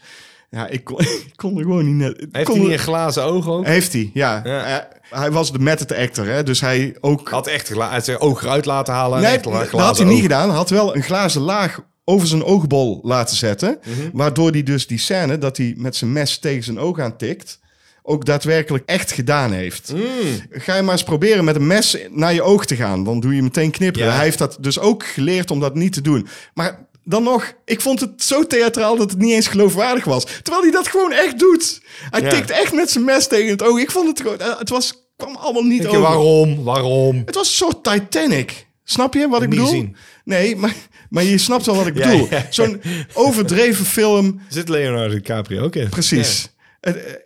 Speaker 2: Ja, ik kon, ik kon er gewoon niet net. ik
Speaker 1: Heeft
Speaker 2: kon
Speaker 1: hij niet
Speaker 2: er-
Speaker 1: een glazen oog ook?
Speaker 2: Heeft hij, ja.
Speaker 1: Ja.
Speaker 2: Eh, hij was de method actor, hè, dus hij ook...
Speaker 1: Had echt gla- hij had zijn oog eruit laten halen. en
Speaker 2: nee,
Speaker 1: echt gla-
Speaker 2: dat
Speaker 1: glazen
Speaker 2: had hij niet
Speaker 1: oog.
Speaker 2: gedaan. Hij had wel een glazen laag over zijn oogbol laten zetten.
Speaker 1: Mhm.
Speaker 2: Waardoor hij dus die scène dat hij met zijn mes tegen zijn oog aantikt... ook daadwerkelijk echt gedaan heeft.
Speaker 1: Mm.
Speaker 2: Ga je maar eens proberen met een mes naar je oog te gaan. Dan doe je meteen knipperen.
Speaker 1: Ja.
Speaker 2: Hij heeft dat dus ook geleerd om dat niet te doen. Maar dan nog, ik vond het zo theatraal dat het niet eens geloofwaardig was. Terwijl hij dat gewoon echt doet. Hij
Speaker 1: Ja.
Speaker 2: tikt echt met zijn mes tegen het oog. Ik vond het gewoon... eh, Het was, kwam allemaal niet
Speaker 1: Ik,
Speaker 2: over.
Speaker 1: waarom? Waarom?
Speaker 2: Het was een soort Titanic. Snap je wat ik
Speaker 1: Niet
Speaker 2: bedoel?
Speaker 1: gezien.
Speaker 2: Nee, maar, maar je snapt wel wat ik
Speaker 1: Ja,
Speaker 2: bedoel.
Speaker 1: ja, ja.
Speaker 2: Zo'n overdreven film.
Speaker 1: Zit Leonardo DiCaprio ook in?
Speaker 2: Precies. Het- eh,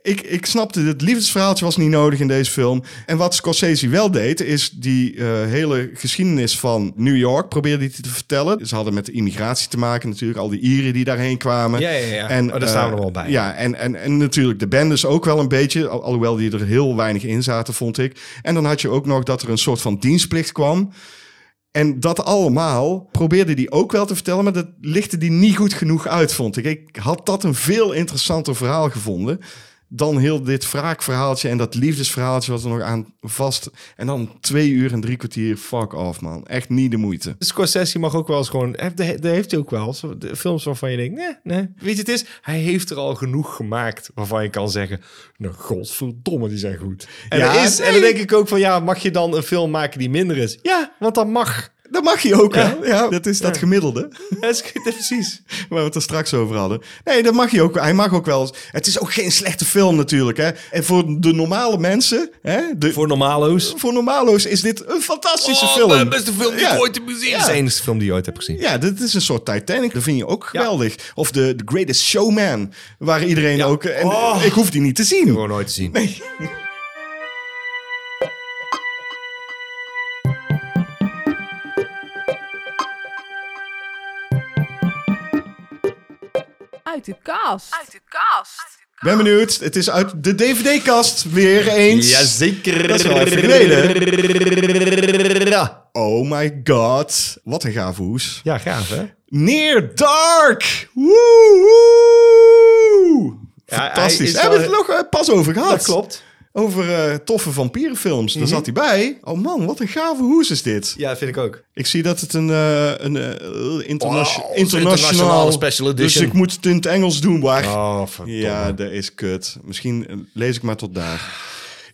Speaker 2: Ik, ik snapte, het liefdesverhaaltje was niet nodig in deze film. En wat Scorsese wel deed, is die eh, hele geschiedenis van New York probeerde hij te vertellen. Ze hadden met de immigratie te maken natuurlijk, al die Ieren die daarheen kwamen.
Speaker 1: Ja, ja, ja. Oh, daar
Speaker 2: eh,
Speaker 1: staan we nog wel bij.
Speaker 2: Ja, en, en, en natuurlijk de bendes ook wel een beetje, al- alhoewel die er heel weinig in zaten, vond ik. En dan had je ook nog dat er een soort van dienstplicht kwam. En dat allemaal probeerde hij ook wel te vertellen, maar dat lichtte die niet goed genoeg uit, vond ik. Ik had dat een veel interessanter verhaal gevonden dan heel dit wraakverhaaltje en dat liefdesverhaaltje wat er nog aan vast... En dan twee uur en drie kwartier, fuck off, man. Echt niet de moeite.
Speaker 1: Scorsese mag ook wel eens gewoon... Heeft, de- de heeft hij ook wel. eens. De films waarvan je denkt, nee, nee. Weet je, het is... Hij heeft er al genoeg gemaakt waarvan je kan zeggen... Nou, godverdomme, die zijn goed. En,
Speaker 2: Ja,
Speaker 1: er is, en dan
Speaker 2: nee.
Speaker 1: denk ik ook van... Ja, mag je dan een film maken die minder is? Ja, want dat mag.
Speaker 2: Dat mag je ook,
Speaker 1: Ja.
Speaker 2: hè? Ja, dat is dat gemiddelde.
Speaker 1: Dat is, dat is precies.
Speaker 2: Waar we het er straks over hadden. Nee, dat mag je ook. Hij mag ook wel. eens- Het is ook geen slechte film natuurlijk. Hè? En voor de normale mensen, hè? De, voor...
Speaker 1: Voor normalo's.
Speaker 2: normalo's, is dit een fantastische film. Ja.
Speaker 1: muziek. Dat is de enige film die je ooit hebt gezien.
Speaker 2: Ja, dit is een soort Titanic. Dat vind je ook geweldig. Of de The Greatest Showman, waar iedereen ook... En
Speaker 1: Oh.
Speaker 2: Ik hoef die niet te zien.
Speaker 1: Gewoon nooit te zien.
Speaker 2: Nee.
Speaker 6: Uit de kast. Uit de kast.
Speaker 2: Ben benieuwd. Het is uit de DVD-kast weer eens.
Speaker 1: Jazeker.
Speaker 2: Dat is wel even Oh my god. Wat een gave hoes.
Speaker 1: Ja, gaaf hè?
Speaker 2: Near Dark! Woehoe!
Speaker 1: hij
Speaker 2: Fantastisch.
Speaker 1: is
Speaker 2: Daar hebben we
Speaker 1: wel-
Speaker 2: het nog eh, pas over gehad.
Speaker 1: Dat klopt. Mhm.
Speaker 2: Over eh, toffe vampierenfilms. Daar zat hij bij. Oh man, wat een gave hoes is dit.
Speaker 1: Ja, dat vind ik ook.
Speaker 2: Ik zie dat het een, eh, een eh, interna-
Speaker 1: Wow, internationale
Speaker 2: internationaal...
Speaker 1: special
Speaker 2: Dus
Speaker 1: edition.
Speaker 2: ik moet het in het Engels doen, waar...
Speaker 1: Oh, verdomme.
Speaker 2: Ja, dat is kut. Misschien eh, lees ik maar tot daar.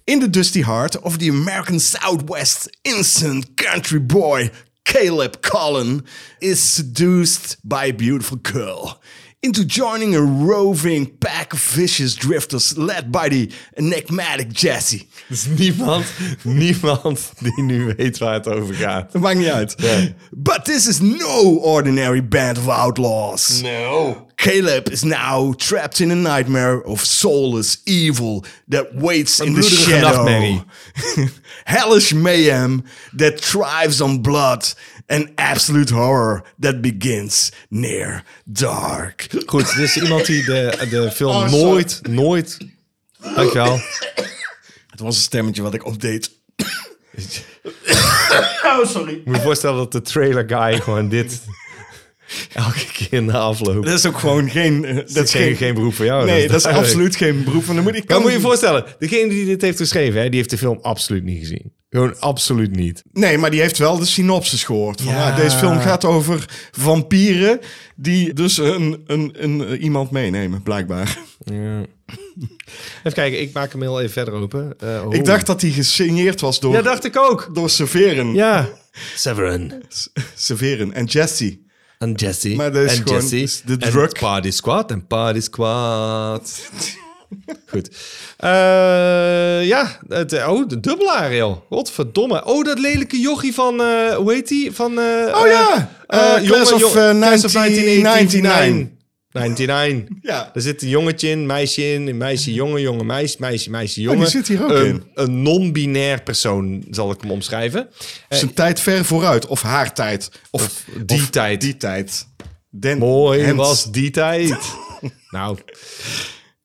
Speaker 2: In the dusty heart of the American Southwest, innocent country boy Caleb Cullen is seduced by a beautiful girl into joining a roving pack of vicious drifters led by the enigmatic Jesse.
Speaker 1: Er is Dus niemand, niemand die nu weet waar het over gaat.
Speaker 2: Dat maakt niet uit.
Speaker 1: Ja.
Speaker 2: But this is no ordinary band of outlaws.
Speaker 1: No.
Speaker 2: Caleb is now trapped in a nightmare of soulless evil that waits in the
Speaker 1: bloederige
Speaker 2: shadow.
Speaker 1: nachtmerrie.
Speaker 2: Hellish mayhem that thrives on blood and absolute horror that begins near dark.
Speaker 1: Goed, dit is iemand die de, de film
Speaker 2: Oh, sorry.
Speaker 1: nooit, nooit... Dankjewel.
Speaker 2: Het was een stemmetje wat ik opdeed.
Speaker 1: Ik moet je voorstellen dat de trailer guy gewoon dit... Elke keer na afloop.
Speaker 2: Dat is ook gewoon geen... eh, Dat
Speaker 1: is geen- geen beroep voor jou, dus dat
Speaker 2: Nee,
Speaker 1: is
Speaker 2: dat is
Speaker 1: duidelijk.
Speaker 2: absoluut geen beroep. Want dan moet ik...
Speaker 1: Maar moet je je voorstellen, degene die dit heeft geschreven, hè, die heeft de film absoluut niet gezien. Gewoon absoluut niet.
Speaker 2: Nee, maar die heeft wel de synopsis gehoord. Van,
Speaker 1: Ja.
Speaker 2: ja. deze film gaat over vampieren die dus een, een, een, eh, iemand meenemen, blijkbaar.
Speaker 1: Even kijken, ik maak hem heel even verder open. Eh, oh.
Speaker 2: Ik dacht dat die gesigneerd was door,
Speaker 1: Ja, dacht ik ook.
Speaker 2: door Severen.
Speaker 1: Ja. Severin.
Speaker 2: Severen en Jesse.
Speaker 1: En Jesse.
Speaker 2: Maar dat is
Speaker 1: en
Speaker 2: gewoon dus
Speaker 1: Jesse.
Speaker 2: de
Speaker 1: En
Speaker 2: druk.
Speaker 1: Party Squad. En Party Squad. Goed. Eh, ja, het, oh, de dubbelaar, joh. Godverdomme. Oh, dat lelijke jochie van, eh hoe heet die? Van, eh,
Speaker 2: Oh ja,
Speaker 1: eh,
Speaker 2: eh,
Speaker 1: jongen,
Speaker 2: Class of,
Speaker 1: jong-
Speaker 2: eh,
Speaker 1: Class of
Speaker 2: 1999.
Speaker 1: 99.
Speaker 2: Ja.
Speaker 1: Er zit een jongetje in, meisje in, een meisje, jongen, jongen, meisje, meisje, meisje, jongen.
Speaker 2: Oh, zit hier ook
Speaker 1: een,
Speaker 2: in.
Speaker 1: Een non-binair persoon, zal ik hem omschrijven. Eh,
Speaker 2: Zijn tijd ver vooruit. Of haar tijd. Of,
Speaker 1: die
Speaker 2: of
Speaker 1: tijd.
Speaker 2: Die tijd. Den
Speaker 1: mooi
Speaker 2: Hens.
Speaker 1: was die tijd. nou,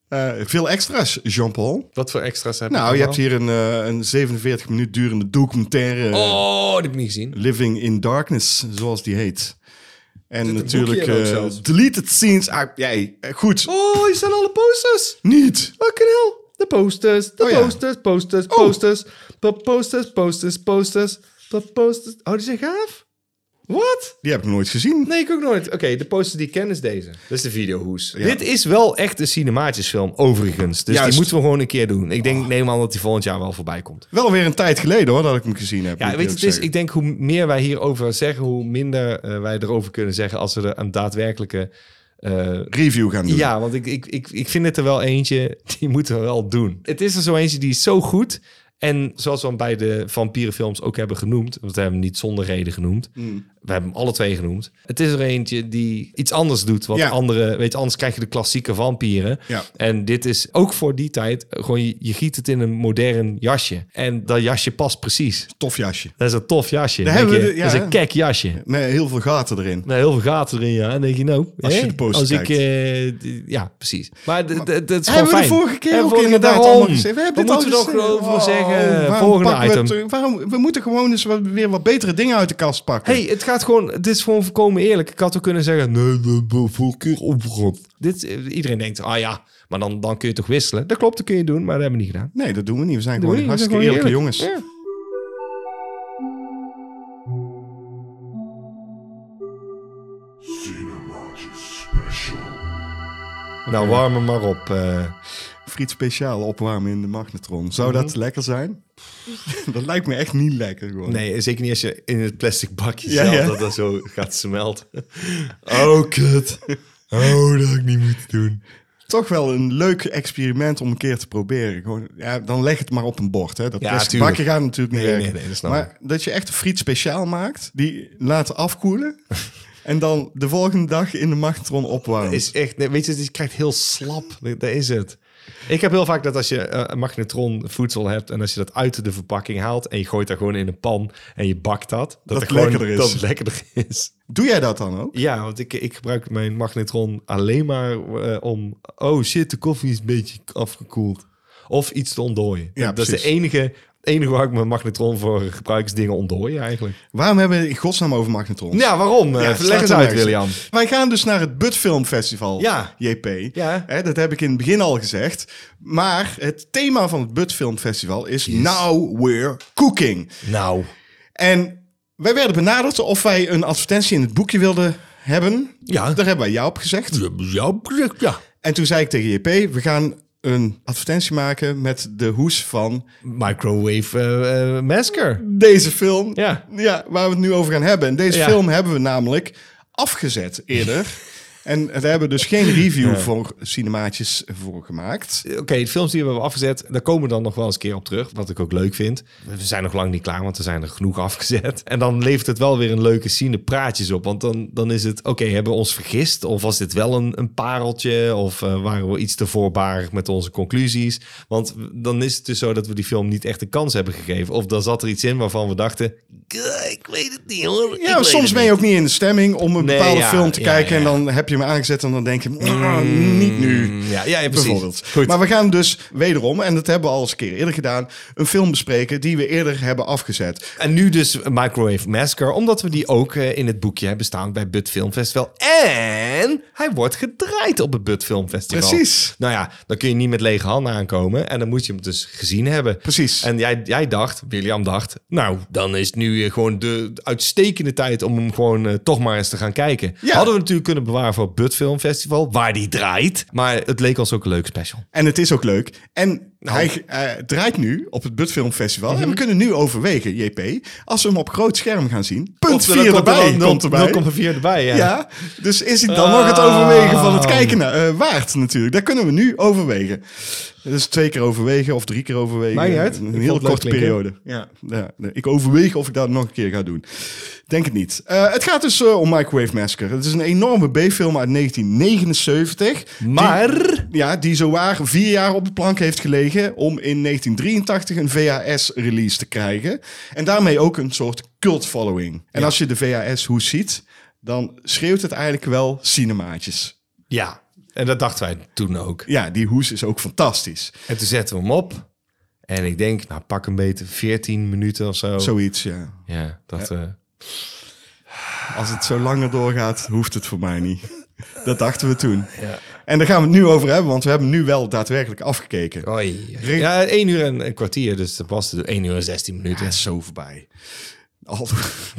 Speaker 2: Eh, veel extra's, Jean-Paul.
Speaker 1: wat voor extra's heb
Speaker 2: Nou, je
Speaker 1: allemaal?
Speaker 2: hebt hier een, eh, een 47 minuut durende documentaire. eh,
Speaker 1: Oh, dat heb ik niet gezien.
Speaker 2: Living in Darkness, zoals die heet. En natuurlijk
Speaker 1: boekje er ook
Speaker 2: eh,
Speaker 1: zelfs?
Speaker 2: Deleted Scenes. Ah, jij, eh, goed.
Speaker 1: Oh, hier staan alle posters.
Speaker 2: Niet.
Speaker 1: Fucking hell. De posters, de
Speaker 2: Oh ja.
Speaker 1: posters, posters, posters. Po- Posters, posters, posters. po- Posters. Oh, die zijn gaaf. Wat?
Speaker 2: Die heb ik nooit gezien.
Speaker 1: Nee, ik ook nooit. Oké, de poster die ik ken is deze. Dat is de videohoes. Dit is wel echt een cinematischfilm, overigens. Dus die
Speaker 2: Juist.
Speaker 1: moeten we gewoon een keer doen. Ik denk, neem aan dat die volgend jaar wel voorbij komt.
Speaker 2: Wel weer een tijd geleden hoor, dat ik hem gezien heb.
Speaker 1: Ja,
Speaker 2: moet ik
Speaker 1: weet je, het
Speaker 2: eerlijk
Speaker 1: is, ik denk hoe meer wij hierover zeggen, hoe minder eh, wij erover kunnen zeggen als we er een daadwerkelijke... eh,
Speaker 2: zeggen. Review gaan doen.
Speaker 1: ja, want ik, ik, ik, ik vind het er wel eentje, die moeten we wel doen. Het is er zo eentje die is zo goed. En zoals we hem bij de vampierenfilms ook hebben genoemd, want we hebben hem niet zonder reden genoemd.
Speaker 2: Hmm.
Speaker 1: We hebben hem alle twee genoemd. Het is er eentje die iets anders doet. Wat
Speaker 2: Ja.
Speaker 1: andere, weet je, anders krijg je de klassieke vampieren.
Speaker 2: Ja.
Speaker 1: En dit is ook voor die tijd gewoon, je, je giet het in een modern jasje. En dat jasje past precies.
Speaker 2: Tof jasje.
Speaker 1: Dat is een tof jasje.
Speaker 2: Daar
Speaker 1: Denk
Speaker 2: hebben we
Speaker 1: je,
Speaker 2: de-
Speaker 1: Dat is
Speaker 2: ja.
Speaker 1: een kek jasje.
Speaker 2: Nee, heel veel gaten erin.
Speaker 1: Nou, heel veel gaten erin, ja. En denk je, nou,
Speaker 2: Als je
Speaker 1: hè,
Speaker 2: de poster
Speaker 1: als ik,
Speaker 2: kijkt.
Speaker 1: eh, d- ja, precies. Maar d- d- dat is gewoon
Speaker 2: Hebben we
Speaker 1: fijn.
Speaker 2: de vorige keer
Speaker 1: Hebben
Speaker 2: ook
Speaker 1: we vorige-
Speaker 2: inderdaad
Speaker 1: daarom.
Speaker 2: allemaal gezegd.
Speaker 1: Wat
Speaker 2: hebben dit
Speaker 1: moeten we
Speaker 2: al
Speaker 1: nog
Speaker 2: gezegd.
Speaker 1: over zeggen? eh,
Speaker 2: Oh, waarom pakken
Speaker 1: Volgende
Speaker 2: we
Speaker 1: item.
Speaker 2: het- waarom, we moeten gewoon eens wat, weer wat betere dingen uit de kast pakken.
Speaker 1: hey, het gaat gewoon, het is gewoon voorkomen eerlijk. Ik had ook kunnen zeggen, nee, we hebben vorige keer opgeropt. Dit, eh, iedereen denkt, ah ja, maar dan, dan kun je toch wisselen. Dat klopt, dat kun je doen, maar dat hebben we niet gedaan.
Speaker 2: Nee, dat doen we niet. We zijn
Speaker 1: Doe
Speaker 2: gewoon
Speaker 1: je, we zijn
Speaker 2: hartstikke
Speaker 1: gewoon eerlijk.
Speaker 2: eerlijke
Speaker 1: Ja.
Speaker 2: jongens.
Speaker 1: Nou, warm hem maar op. eh.
Speaker 2: friet speciaal opwarmen in de magnetron. Zou
Speaker 1: Mhm.
Speaker 2: dat lekker zijn? dat lijkt me echt niet lekker gewoon.
Speaker 1: Nee, zeker niet als je in het plastic bakje
Speaker 2: Ja,
Speaker 1: zelf
Speaker 2: ja.
Speaker 1: dat dat zo gaat smelten. Oh, kut. Oh, dat had ik niet moeten doen.
Speaker 2: Toch wel een leuk experiment om een keer te proberen. Gewoon, ja, dan leg het maar op een bord. Hè. Dat
Speaker 1: Ja,
Speaker 2: plastic
Speaker 1: tuurlijk.
Speaker 2: bakje gaat natuurlijk niet
Speaker 1: Nee,
Speaker 2: werken.
Speaker 1: nee, nee, dat snap
Speaker 2: maar dat je echt een friet speciaal maakt, die laat afkoelen en dan de volgende dag in de magnetron opwarmt.
Speaker 1: Is echt, nee, weet je, je krijgt heel slap. Dat dat is het. Ik heb heel vaak dat als je eh, een magnetron voedsel hebt en als je dat uit de verpakking haalt en je gooit dat gewoon in een pan en je bakt dat, dat,
Speaker 2: het
Speaker 1: er gewoon-
Speaker 2: lekkerder is.
Speaker 1: Dat het lekkerder is.
Speaker 2: Doe jij dat dan ook?
Speaker 1: Ja, want ik, ik gebruik mijn magnetron alleen maar eh, om... Oh shit, de koffie is een beetje afgekoeld. Of iets te ontdooien.
Speaker 2: Ja,
Speaker 1: dat is de
Speaker 2: precies.
Speaker 1: enige, enige waar ik mijn magnetron voor gebruik is dingen ontdooien eigenlijk.
Speaker 2: Waarom hebben we het in godsnaam over magnetrons?
Speaker 1: Ja, waarom?
Speaker 2: Ja,
Speaker 1: Eh,
Speaker 2: het
Speaker 1: leg
Speaker 2: slaat
Speaker 1: eens
Speaker 2: er
Speaker 1: uit,
Speaker 2: nergens op.
Speaker 1: William.
Speaker 2: Wij gaan dus naar het Bud Film Festival,
Speaker 1: Ja.
Speaker 2: JP.
Speaker 1: Ja.
Speaker 2: Hè, dat heb ik in het begin al gezegd. Maar het thema van het Bud Film Festival is Now We're Cooking.
Speaker 1: Nou.
Speaker 2: En wij werden benaderd of wij een advertentie in het boekje wilden hebben.
Speaker 1: Ja.
Speaker 2: Daar hebben wij ja op gezegd.
Speaker 1: Ja, ja.
Speaker 2: En toen zei ik tegen JP, we gaan een advertentie maken met de hoes van
Speaker 1: Microwave eh, eh, masker.
Speaker 2: deze film.
Speaker 1: Ja.
Speaker 2: ja, waar we het nu over gaan hebben. En deze
Speaker 1: Ja.
Speaker 2: film hebben we namelijk afgezet eerder. en daar hebben we dus geen review voor cinemaatjes voor gemaakt.
Speaker 1: Oké, de films die we hebben afgezet, daar komen we dan nog wel eens een keer op terug. Wat ik ook leuk vind. We zijn nog lang niet klaar, want er zijn er genoeg afgezet. En dan levert het wel weer een leuke scene praatjes op. Want dan, dan is het, oké, hebben we ons vergist? Of was dit wel een, een pareltje? Of eh, waren we iets te voorbarig met onze conclusies? Want dan is het dus zo dat we die film niet echt een kans hebben gegeven. Of dan zat er iets in waarvan we dachten, eh, ik weet het niet hoor. Ik
Speaker 2: Ja,
Speaker 1: weet
Speaker 2: soms
Speaker 1: het
Speaker 2: ben je ook niet in de stemming om een
Speaker 1: Nee,
Speaker 2: bepaalde
Speaker 1: ja,
Speaker 2: film te
Speaker 1: ja,
Speaker 2: kijken. En
Speaker 1: ja.
Speaker 2: dan heb je hem aangezet en dan denk je, "Ah, niet nu.
Speaker 1: niet. Ja, ja, ja, precies.
Speaker 2: Bijvoorbeeld.
Speaker 1: Goed.
Speaker 2: Maar we gaan dus wederom, en dat hebben we al eens een keer eerder gedaan, een film bespreken die we eerder hebben afgezet.
Speaker 1: En nu dus Microwave Massacre, omdat we die ook eh, in het boekje hebben staan bij Bud Film Festival. En hij wordt gedraaid op het Bud Film Festival.
Speaker 2: Precies.
Speaker 1: Nou ja, dan kun je niet met lege handen aankomen en dan moet je hem dus gezien hebben.
Speaker 2: Precies.
Speaker 1: En jij, jij dacht, William dacht, nou, dan is nu eh, gewoon de uitstekende tijd om hem gewoon eh, toch maar eens te gaan kijken.
Speaker 2: Ja.
Speaker 1: Hadden we natuurlijk kunnen bewaren voor het Bud Film Festival, waar die draait. Maar het leek ons ook een leuk special.
Speaker 2: En het is ook leuk. En
Speaker 1: Nou.
Speaker 2: hij eh, draait nu op het Budfilm Festival. En
Speaker 1: Mhm.
Speaker 2: we kunnen nu overwegen, JP, als we hem op groot scherm gaan zien. Punt
Speaker 1: Komt er-
Speaker 2: 4
Speaker 1: komt er
Speaker 2: erbij.
Speaker 1: wel
Speaker 2: Komt erbij.
Speaker 1: 0,4 erbij, ja. Ah.
Speaker 2: Ja, dus is het dan nog het overwegen van het kijken naar, eh, waard natuurlijk. Dat kunnen we nu overwegen. Dus twee keer overwegen of drie keer overwegen.
Speaker 1: Maakt niet uit. Ik
Speaker 2: Een
Speaker 1: vond
Speaker 2: heel
Speaker 1: het leuk
Speaker 2: korte
Speaker 1: klinken.
Speaker 2: periode. Ja, ja, nee, ik overweeg of ik dat nog een keer ga doen. Denk het niet. Eh, het gaat dus eh, om Microwave Massacre. Het is een enorme B-film uit 1979.
Speaker 1: Maar...
Speaker 2: Ja, die zowaar vier jaar op de plank heeft gelegen om in 1983 een VHS-release te krijgen. En daarmee ook een soort cult-following. En als je de VHS-hoes ziet, dan schreeuwt het eigenlijk wel cinemaatjes.
Speaker 1: Ja, en dat dachten wij toen ook.
Speaker 2: Ja, die hoes is ook fantastisch.
Speaker 1: En toen zetten we hem op. En ik denk, nou pak een beetje 14 minuten of zo.
Speaker 2: Zoiets, ja.
Speaker 1: Ja, dat... eh,
Speaker 2: Als het zo langer doorgaat, hoeft het voor mij niet. Dat dachten we toen. En daar gaan we het nu over hebben, want we hebben hem nu wel daadwerkelijk afgekeken.
Speaker 1: oei.
Speaker 2: Rick-
Speaker 1: Ja, 1 uur en een kwartier. Dus dat was de 1 uur en 16 minuten.
Speaker 2: Ja, is zo voorbij. Al,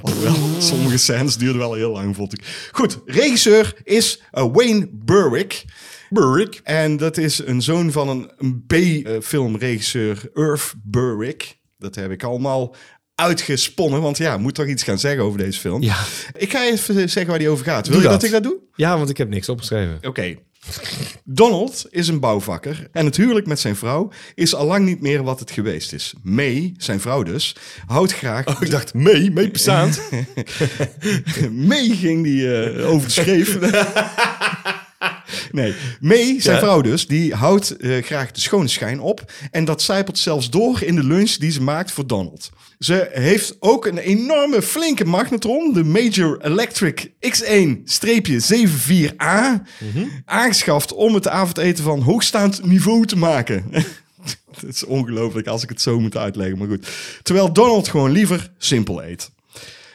Speaker 2: alhoewel, sommige scènes duurden wel heel lang, vond ik. Goed, regisseur is eh, Wayne Burwick. Burwick. En dat is een zoon van een, een B-filmregisseur, Irv Burwick. Dat heb ik allemaal uitgesponnen, want ja, moet toch iets gaan zeggen over deze film.
Speaker 1: Ja.
Speaker 2: Ik ga even zeggen waar die over gaat. Wil
Speaker 1: Doe
Speaker 2: je dat
Speaker 1: dat.
Speaker 2: ik dat doe?
Speaker 1: Ja, want ik heb niks opgeschreven.
Speaker 2: Oké. Donald is een bouwvakker en het huwelijk met zijn vrouw is allang niet meer wat het geweest is. May, zijn vrouw dus, houdt graag...
Speaker 1: Oh,
Speaker 2: ik dacht, May, May bestaand. May ging die eh, over de scheef. Nee, May, zijn vrouw dus, die houdt eh, graag de schone schijn op. En dat zijpelt zelfs door in de lunch die ze maakt voor Donald. Ze heeft ook een enorme flinke magnetron, de Major Electric X1-74A, aangeschaft om het avondeten van hoogstaand niveau te maken. Het is ongelooflijk als ik het zo moet uitleggen, maar goed. Terwijl Donald gewoon liever simpel eet.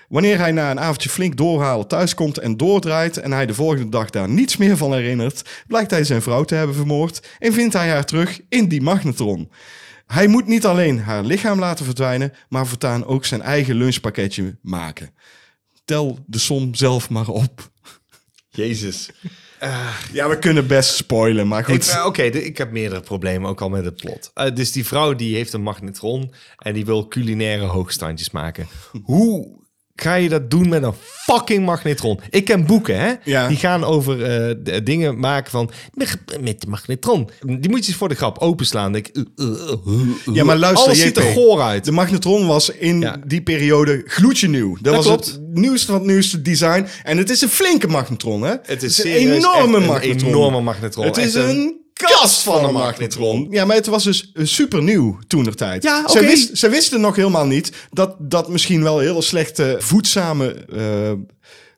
Speaker 2: Wanneer hij na een avondje flink doorhalen thuiskomt en doordraait en hij de volgende dag daar niets meer van herinnert, blijkt hij zijn vrouw te hebben vermoord en vindt hij haar terug in die magnetron. Hij moet niet alleen haar lichaam laten verdwijnen, maar voortaan ook zijn eigen lunchpakketje maken. Tel de som zelf maar op.
Speaker 1: Jezus.
Speaker 2: Ja, we kunnen best spoilen, maar
Speaker 1: Ik,
Speaker 2: goed.
Speaker 1: eh, Oké, de- ik heb meerdere problemen, ook al met het plot. Eh, dus die vrouw die heeft een magnetron en die wil culinaire hoogstandjes maken. Hoe ga je dat doen met een fucking magnetron? Ik ken boeken, hè?
Speaker 2: Ja.
Speaker 1: Die gaan over eh, d- dingen maken van met de magnetron. Die moet je eens voor de grap openslaan. Denk, ik, eh, eh, eh, eh, eh.
Speaker 2: Ja, maar luister,
Speaker 1: Alles ziet er
Speaker 2: JP.
Speaker 1: goor uit.
Speaker 2: De magnetron was in
Speaker 1: Ja.
Speaker 2: die periode gloedje nieuw. Dat, was
Speaker 1: klopt.
Speaker 2: het nieuwste van het nieuwste design. En het is een flinke magnetron, hè?
Speaker 1: Het is
Speaker 2: een
Speaker 1: serieus
Speaker 2: enorme
Speaker 1: echt een
Speaker 2: magnetron.
Speaker 1: enorme magnetron.
Speaker 2: Het is
Speaker 1: Echt een
Speaker 2: een kast van een magnetron. Ja, maar het was dus super nieuw toen der tijd.
Speaker 1: Ja,
Speaker 2: ze,
Speaker 1: oké.
Speaker 2: wist, ze wisten nog helemaal niet dat dat misschien wel heel slechte voedzame eh,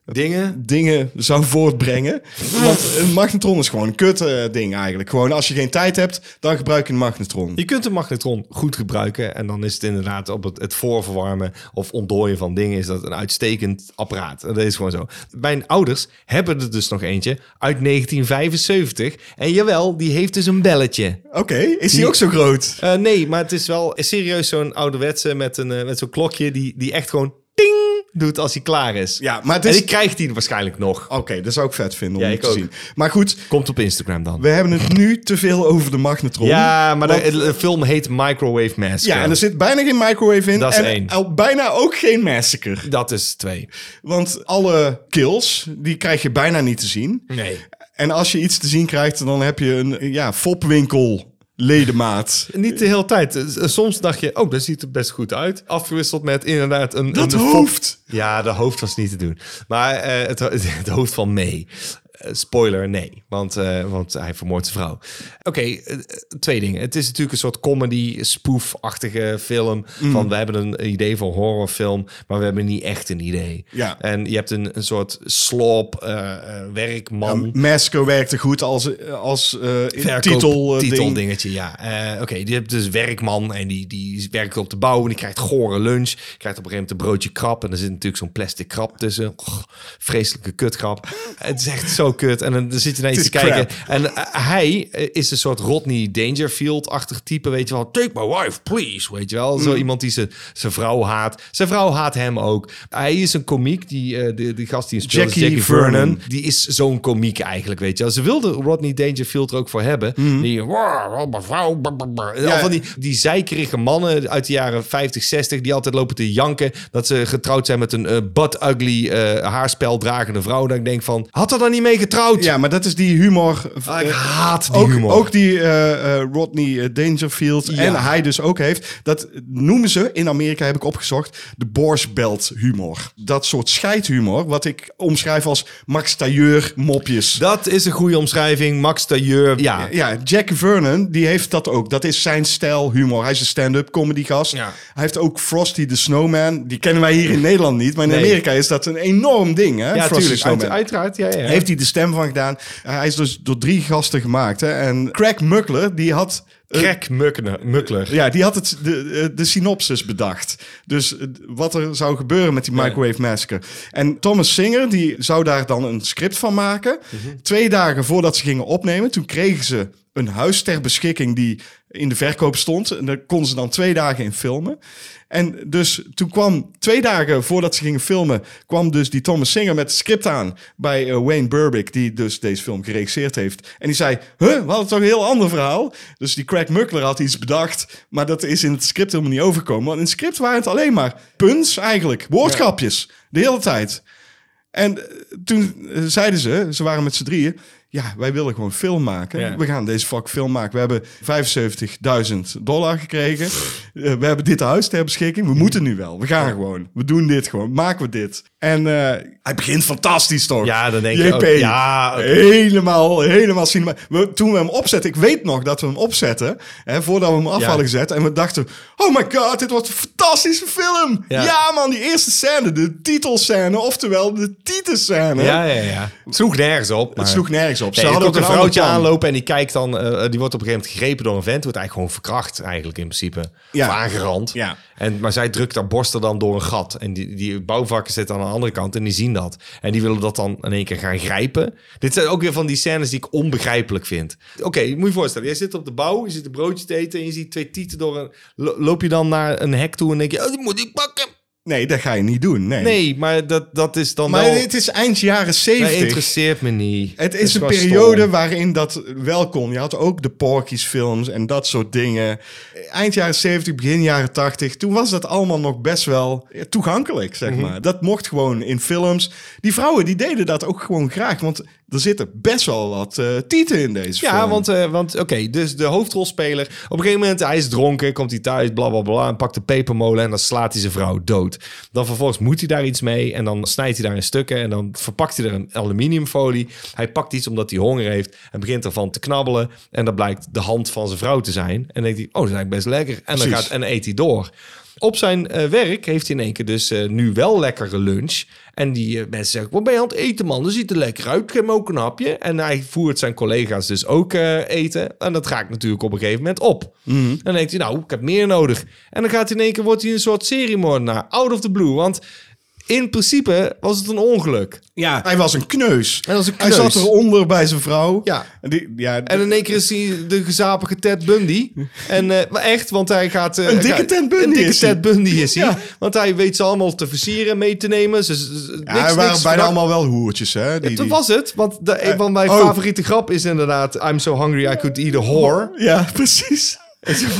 Speaker 1: dingen.
Speaker 2: dingen zou voortbrengen. Want een magnetron is gewoon een kut eh, ding eigenlijk. Gewoon als je geen tijd hebt, dan gebruik je een magnetron.
Speaker 1: Je kunt een magnetron goed gebruiken en dan is het inderdaad op het, het voorverwarmen of ontdooien van dingen is dat een uitstekend apparaat. Dat is gewoon zo. Mijn ouders hebben er dus nog eentje uit 1975 en jawel, die heeft dus een belletje.
Speaker 2: Oké, is die ook zo groot?
Speaker 1: Eh, nee, maar het is wel serieus zo'n ouderwetse met, een, eh, met zo'n klokje die, die echt gewoon ting doet als hij klaar is.
Speaker 2: Ja, maar het is-
Speaker 1: En ik krijg die waarschijnlijk nog.
Speaker 2: Oké, dat zou ik vet vinden om
Speaker 1: Ja,
Speaker 2: die
Speaker 1: ik
Speaker 2: te
Speaker 1: ook.
Speaker 2: zien. Maar goed,
Speaker 1: Komt op Instagram dan.
Speaker 2: we hebben het nu te veel over de magnetron.
Speaker 1: Ja, maar
Speaker 2: Want-
Speaker 1: de, de film heet Microwave Massacre.
Speaker 2: ja, en er zit bijna geen microwave in.
Speaker 1: Dat is
Speaker 2: en
Speaker 1: één.
Speaker 2: al bijna ook geen massacre.
Speaker 1: Dat is twee.
Speaker 2: Want alle kills, die krijg je bijna niet te zien.
Speaker 1: Nee.
Speaker 2: En als je iets te zien krijgt, dan heb je een ja, fopwinkel ledemaat.
Speaker 1: Niet de hele tijd. S- Soms dacht je, oh, dat ziet er best goed uit. Afgewisseld met inderdaad een...
Speaker 2: Dat
Speaker 1: een fop-
Speaker 2: hoofd.
Speaker 1: Ja, de hoofd was niet te doen. Maar eh, het, ho- het hoofd van mee. Eh, spoiler, nee. Want, eh, want hij vermoordt zijn vrouw. Oké, eh, twee dingen. Het is natuurlijk een soort comedy spoof-achtige film.
Speaker 2: Mm.
Speaker 1: Van we hebben een idee voor een horrorfilm, maar we hebben niet echt een idee.
Speaker 2: Ja.
Speaker 1: En je hebt een, een soort slop eh, eh, werkman.
Speaker 2: Mesco werkte goed als, als eh
Speaker 1: Verkoop-
Speaker 2: titel, eh, ding.
Speaker 1: titeldingetje, ja. Eh, Oké, die hebt dus werkman en die, die werkt op de bouw en die krijgt gore lunch. Krijgt op een gegeven moment een broodje krap en er zit natuurlijk zo'n plastic krap tussen. Och, vreselijke kutkrap. het is echt zo kut. En dan dan zit je naar iets te
Speaker 2: Het is
Speaker 1: kijken. En eh, hij eh, is een soort Rodney Dangerfield-achtig type, weet je wel. Take my wife, please, weet je wel.
Speaker 2: Mm.
Speaker 1: Zo iemand die zijn, zijn vrouw haat. Zijn vrouw haat hem ook. Hij is een komiek, die, eh, die, die gast die een speelt,
Speaker 2: Jackie
Speaker 1: Jackie, Vernon.
Speaker 2: Vernon.
Speaker 1: Die is zo'n komiek eigenlijk, weet je wel. Ze wilde Rodney Dangerfield er ook voor hebben.
Speaker 2: Mhm.
Speaker 1: Die, "Wow, mijn vrouw, brr, brr, brr." Al van die, die zeikerige mannen uit de jaren 50, 60... die altijd lopen te janken dat ze getrouwd zijn met een eh butt ugly eh haarspel dragende vrouw. Dan denk ik van, had er dan niet mee getrouwd?
Speaker 2: Ja, maar dat is die humor.
Speaker 1: Ah, ik
Speaker 2: eh,
Speaker 1: haat die
Speaker 2: ook,
Speaker 1: humor.
Speaker 2: ook die eh, eh, Rodney eh, Dangerfield en hij dus ook heeft. Dat noemen ze in Amerika, heb ik opgezocht, de Borscht Belt humor. Dat soort scheidhumor, wat ik omschrijf als Max Tailleur mopjes.
Speaker 1: Dat is een goede omschrijving. Max Tailleur, ja.
Speaker 2: ja, Jack Vernon, die heeft dat ook. Dat is zijn stijl humor. Hij is een stand-up comedy gast.
Speaker 1: Ja.
Speaker 2: Hij heeft ook Frosty the Snowman. Die kennen wij hier in Nederland niet, maar in
Speaker 1: Nee.
Speaker 2: Amerika is dat een enorm ding.
Speaker 1: Ja,
Speaker 2: Hè? Frosty the
Speaker 1: natuurlijk.
Speaker 2: Snowman.
Speaker 1: uiteraard, ja, ja.
Speaker 2: Heeft hij de stem van gedaan. Uh, hij is dus door drie gasten gemaakt. Hè? En Craig Muckler, die had... eh,
Speaker 1: Krek Muckner- Muckler.
Speaker 2: ja, die had het, de, eh, de synopsis bedacht. Dus eh, wat er zou gebeuren met die Microwave Massacre. En Thomas Singer, die zou daar dan een script van maken. Twee dagen voordat ze gingen opnemen, toen kregen ze een huis ter beschikking die in de verkoop stond. En daar konden ze dan twee dagen in filmen. En dus toen kwam twee dagen voordat ze gingen filmen, kwam dus die Thomas Singer met het script aan bij eh, Wayne Burbick, die dus deze film geregisseerd heeft. En die zei, huh, we hadden toch een heel ander verhaal? Dus die Craig Muckler had iets bedacht, maar dat is in het script helemaal niet overkomen. Want in het script waren het alleen maar puns eigenlijk, woordgrapjes, de hele tijd. En eh, toen eh, zeiden ze, ze waren met z'n drieën, ja, wij willen gewoon film maken.
Speaker 1: Ja.
Speaker 2: We gaan deze fuck film maken. We hebben 75.000 dollar gekregen. Eh, we hebben dit huis ter beschikking. We moeten nu wel. We gaan gewoon. We doen dit gewoon. Maken we dit. En eh, hij begint fantastisch toch?
Speaker 1: Ja, dan denk je
Speaker 2: JP.
Speaker 1: ook, ja, oké.
Speaker 2: helemaal, helemaal cinema. We, toen we hem opzetten, ik weet nog dat we hem opzetten, hè, voordat we hem af
Speaker 1: Ja.
Speaker 2: hadden gezet. En we dachten, oh my god, dit wordt een fantastische film.
Speaker 1: Ja.
Speaker 2: Ja, Ah, man, die eerste scène, de titelscène, oftewel de titelscène.
Speaker 1: Ja, ja, ja. Het sloeg nergens op. maar-
Speaker 2: Het sloeg nergens op.
Speaker 1: Ze hadden ook een
Speaker 2: ander
Speaker 1: vrouwtje
Speaker 2: plan.
Speaker 1: aanlopen en die kijkt dan, eh, die wordt op een gegeven moment gegrepen door een vent, wordt eigenlijk gewoon verkracht eigenlijk in principe.
Speaker 2: Ja.
Speaker 1: Of aangerand.
Speaker 2: Ja.
Speaker 1: En, maar zij drukt haar borst er dan door een gat. En die, die bouwvakkers zitten aan de andere kant en die zien dat. En die willen dat dan in één keer gaan grijpen. Dit zijn ook weer van die scènes die ik onbegrijpelijk vind. Oké, je moet je voorstellen, jij zit op de bouw, je zit een broodje te eten en je ziet twee tieten door een... lo- Loop je dan naar een hek toe en denk je, oh, die moet ik pakken.
Speaker 2: Nee, dat ga je niet doen. Nee.
Speaker 1: Nee, maar dat, dat is dan
Speaker 2: Maar
Speaker 1: wel...
Speaker 2: het is eind jaren
Speaker 1: dat
Speaker 2: zeventig.
Speaker 1: interesseert me niet.
Speaker 2: Het
Speaker 1: Dat
Speaker 2: is een
Speaker 1: gewoon stom.
Speaker 2: periode waarin dat wel kon. Je had ook de Porky's films en dat soort dingen. Eind jaren 70, begin jaren 80. Toen was dat allemaal nog best wel ja, toegankelijk,
Speaker 1: Mhm.
Speaker 2: zeg maar. Dat mocht gewoon in films. Die vrouwen die deden dat ook gewoon graag. Want er zitten best wel wat eh, tieten in deze film.
Speaker 1: Ja, want, eh, want oké, dus de hoofdrolspeler. Op een gegeven moment, hij is dronken, komt hij thuis, bla bla bla. En pakt de pepermolen en dan slaat hij zijn vrouw dood. Dan vervolgens moet hij daar iets mee en dan snijdt hij daar in stukken. En dan verpakt hij er een aluminiumfolie. Hij pakt iets omdat hij honger heeft en begint ervan te knabbelen. En dat blijkt de hand van zijn vrouw te zijn. En dan denkt hij, oh, dat is eigenlijk best lekker. En dan
Speaker 2: Precies.
Speaker 1: gaat en eet hij door. Op zijn eh, werk heeft hij in één keer dus eh, nu wel lekkere lunch. En die eh, mensen zeggen, wat ben je aan het eten man? Dat ziet er lekker uit, geef me ook een hapje. En hij voert zijn collega's dus ook eh, eten. En dat raakt natuurlijk op een gegeven moment op. En dan denkt hij, nou, ik heb meer nodig. En dan gaat hij in één keer, wordt hij een soort seriemoordenaar. Out of the blue, want in principe was het een ongeluk.
Speaker 2: Hij was een kneus.
Speaker 1: Hij was een
Speaker 2: Hij
Speaker 1: kneus.
Speaker 2: zat eronder bij zijn vrouw.
Speaker 1: Ja.
Speaker 2: En, die, ja,
Speaker 1: En in één keer is hij de gezapige Ted Bundy. En eh, maar echt, want hij gaat... eh,
Speaker 2: Een dikke
Speaker 1: gaat-
Speaker 2: Ted Bundy
Speaker 1: Een dikke
Speaker 2: is hij.
Speaker 1: Ted Bundy is hij.
Speaker 2: Ja.
Speaker 1: Want hij weet ze allemaal te versieren, mee te nemen. Ze, ze- ze-
Speaker 2: ja,
Speaker 1: niks,
Speaker 2: hij waren
Speaker 1: niks
Speaker 2: bijna
Speaker 1: verdacht.
Speaker 2: allemaal wel hoertjes. Hè, die,
Speaker 1: Ja,
Speaker 2: die-
Speaker 1: dat was het. Want de, een van mijn
Speaker 2: oh.
Speaker 1: favoriete grap is inderdaad... I'm so hungry I could eat a whore.
Speaker 2: ja, precies.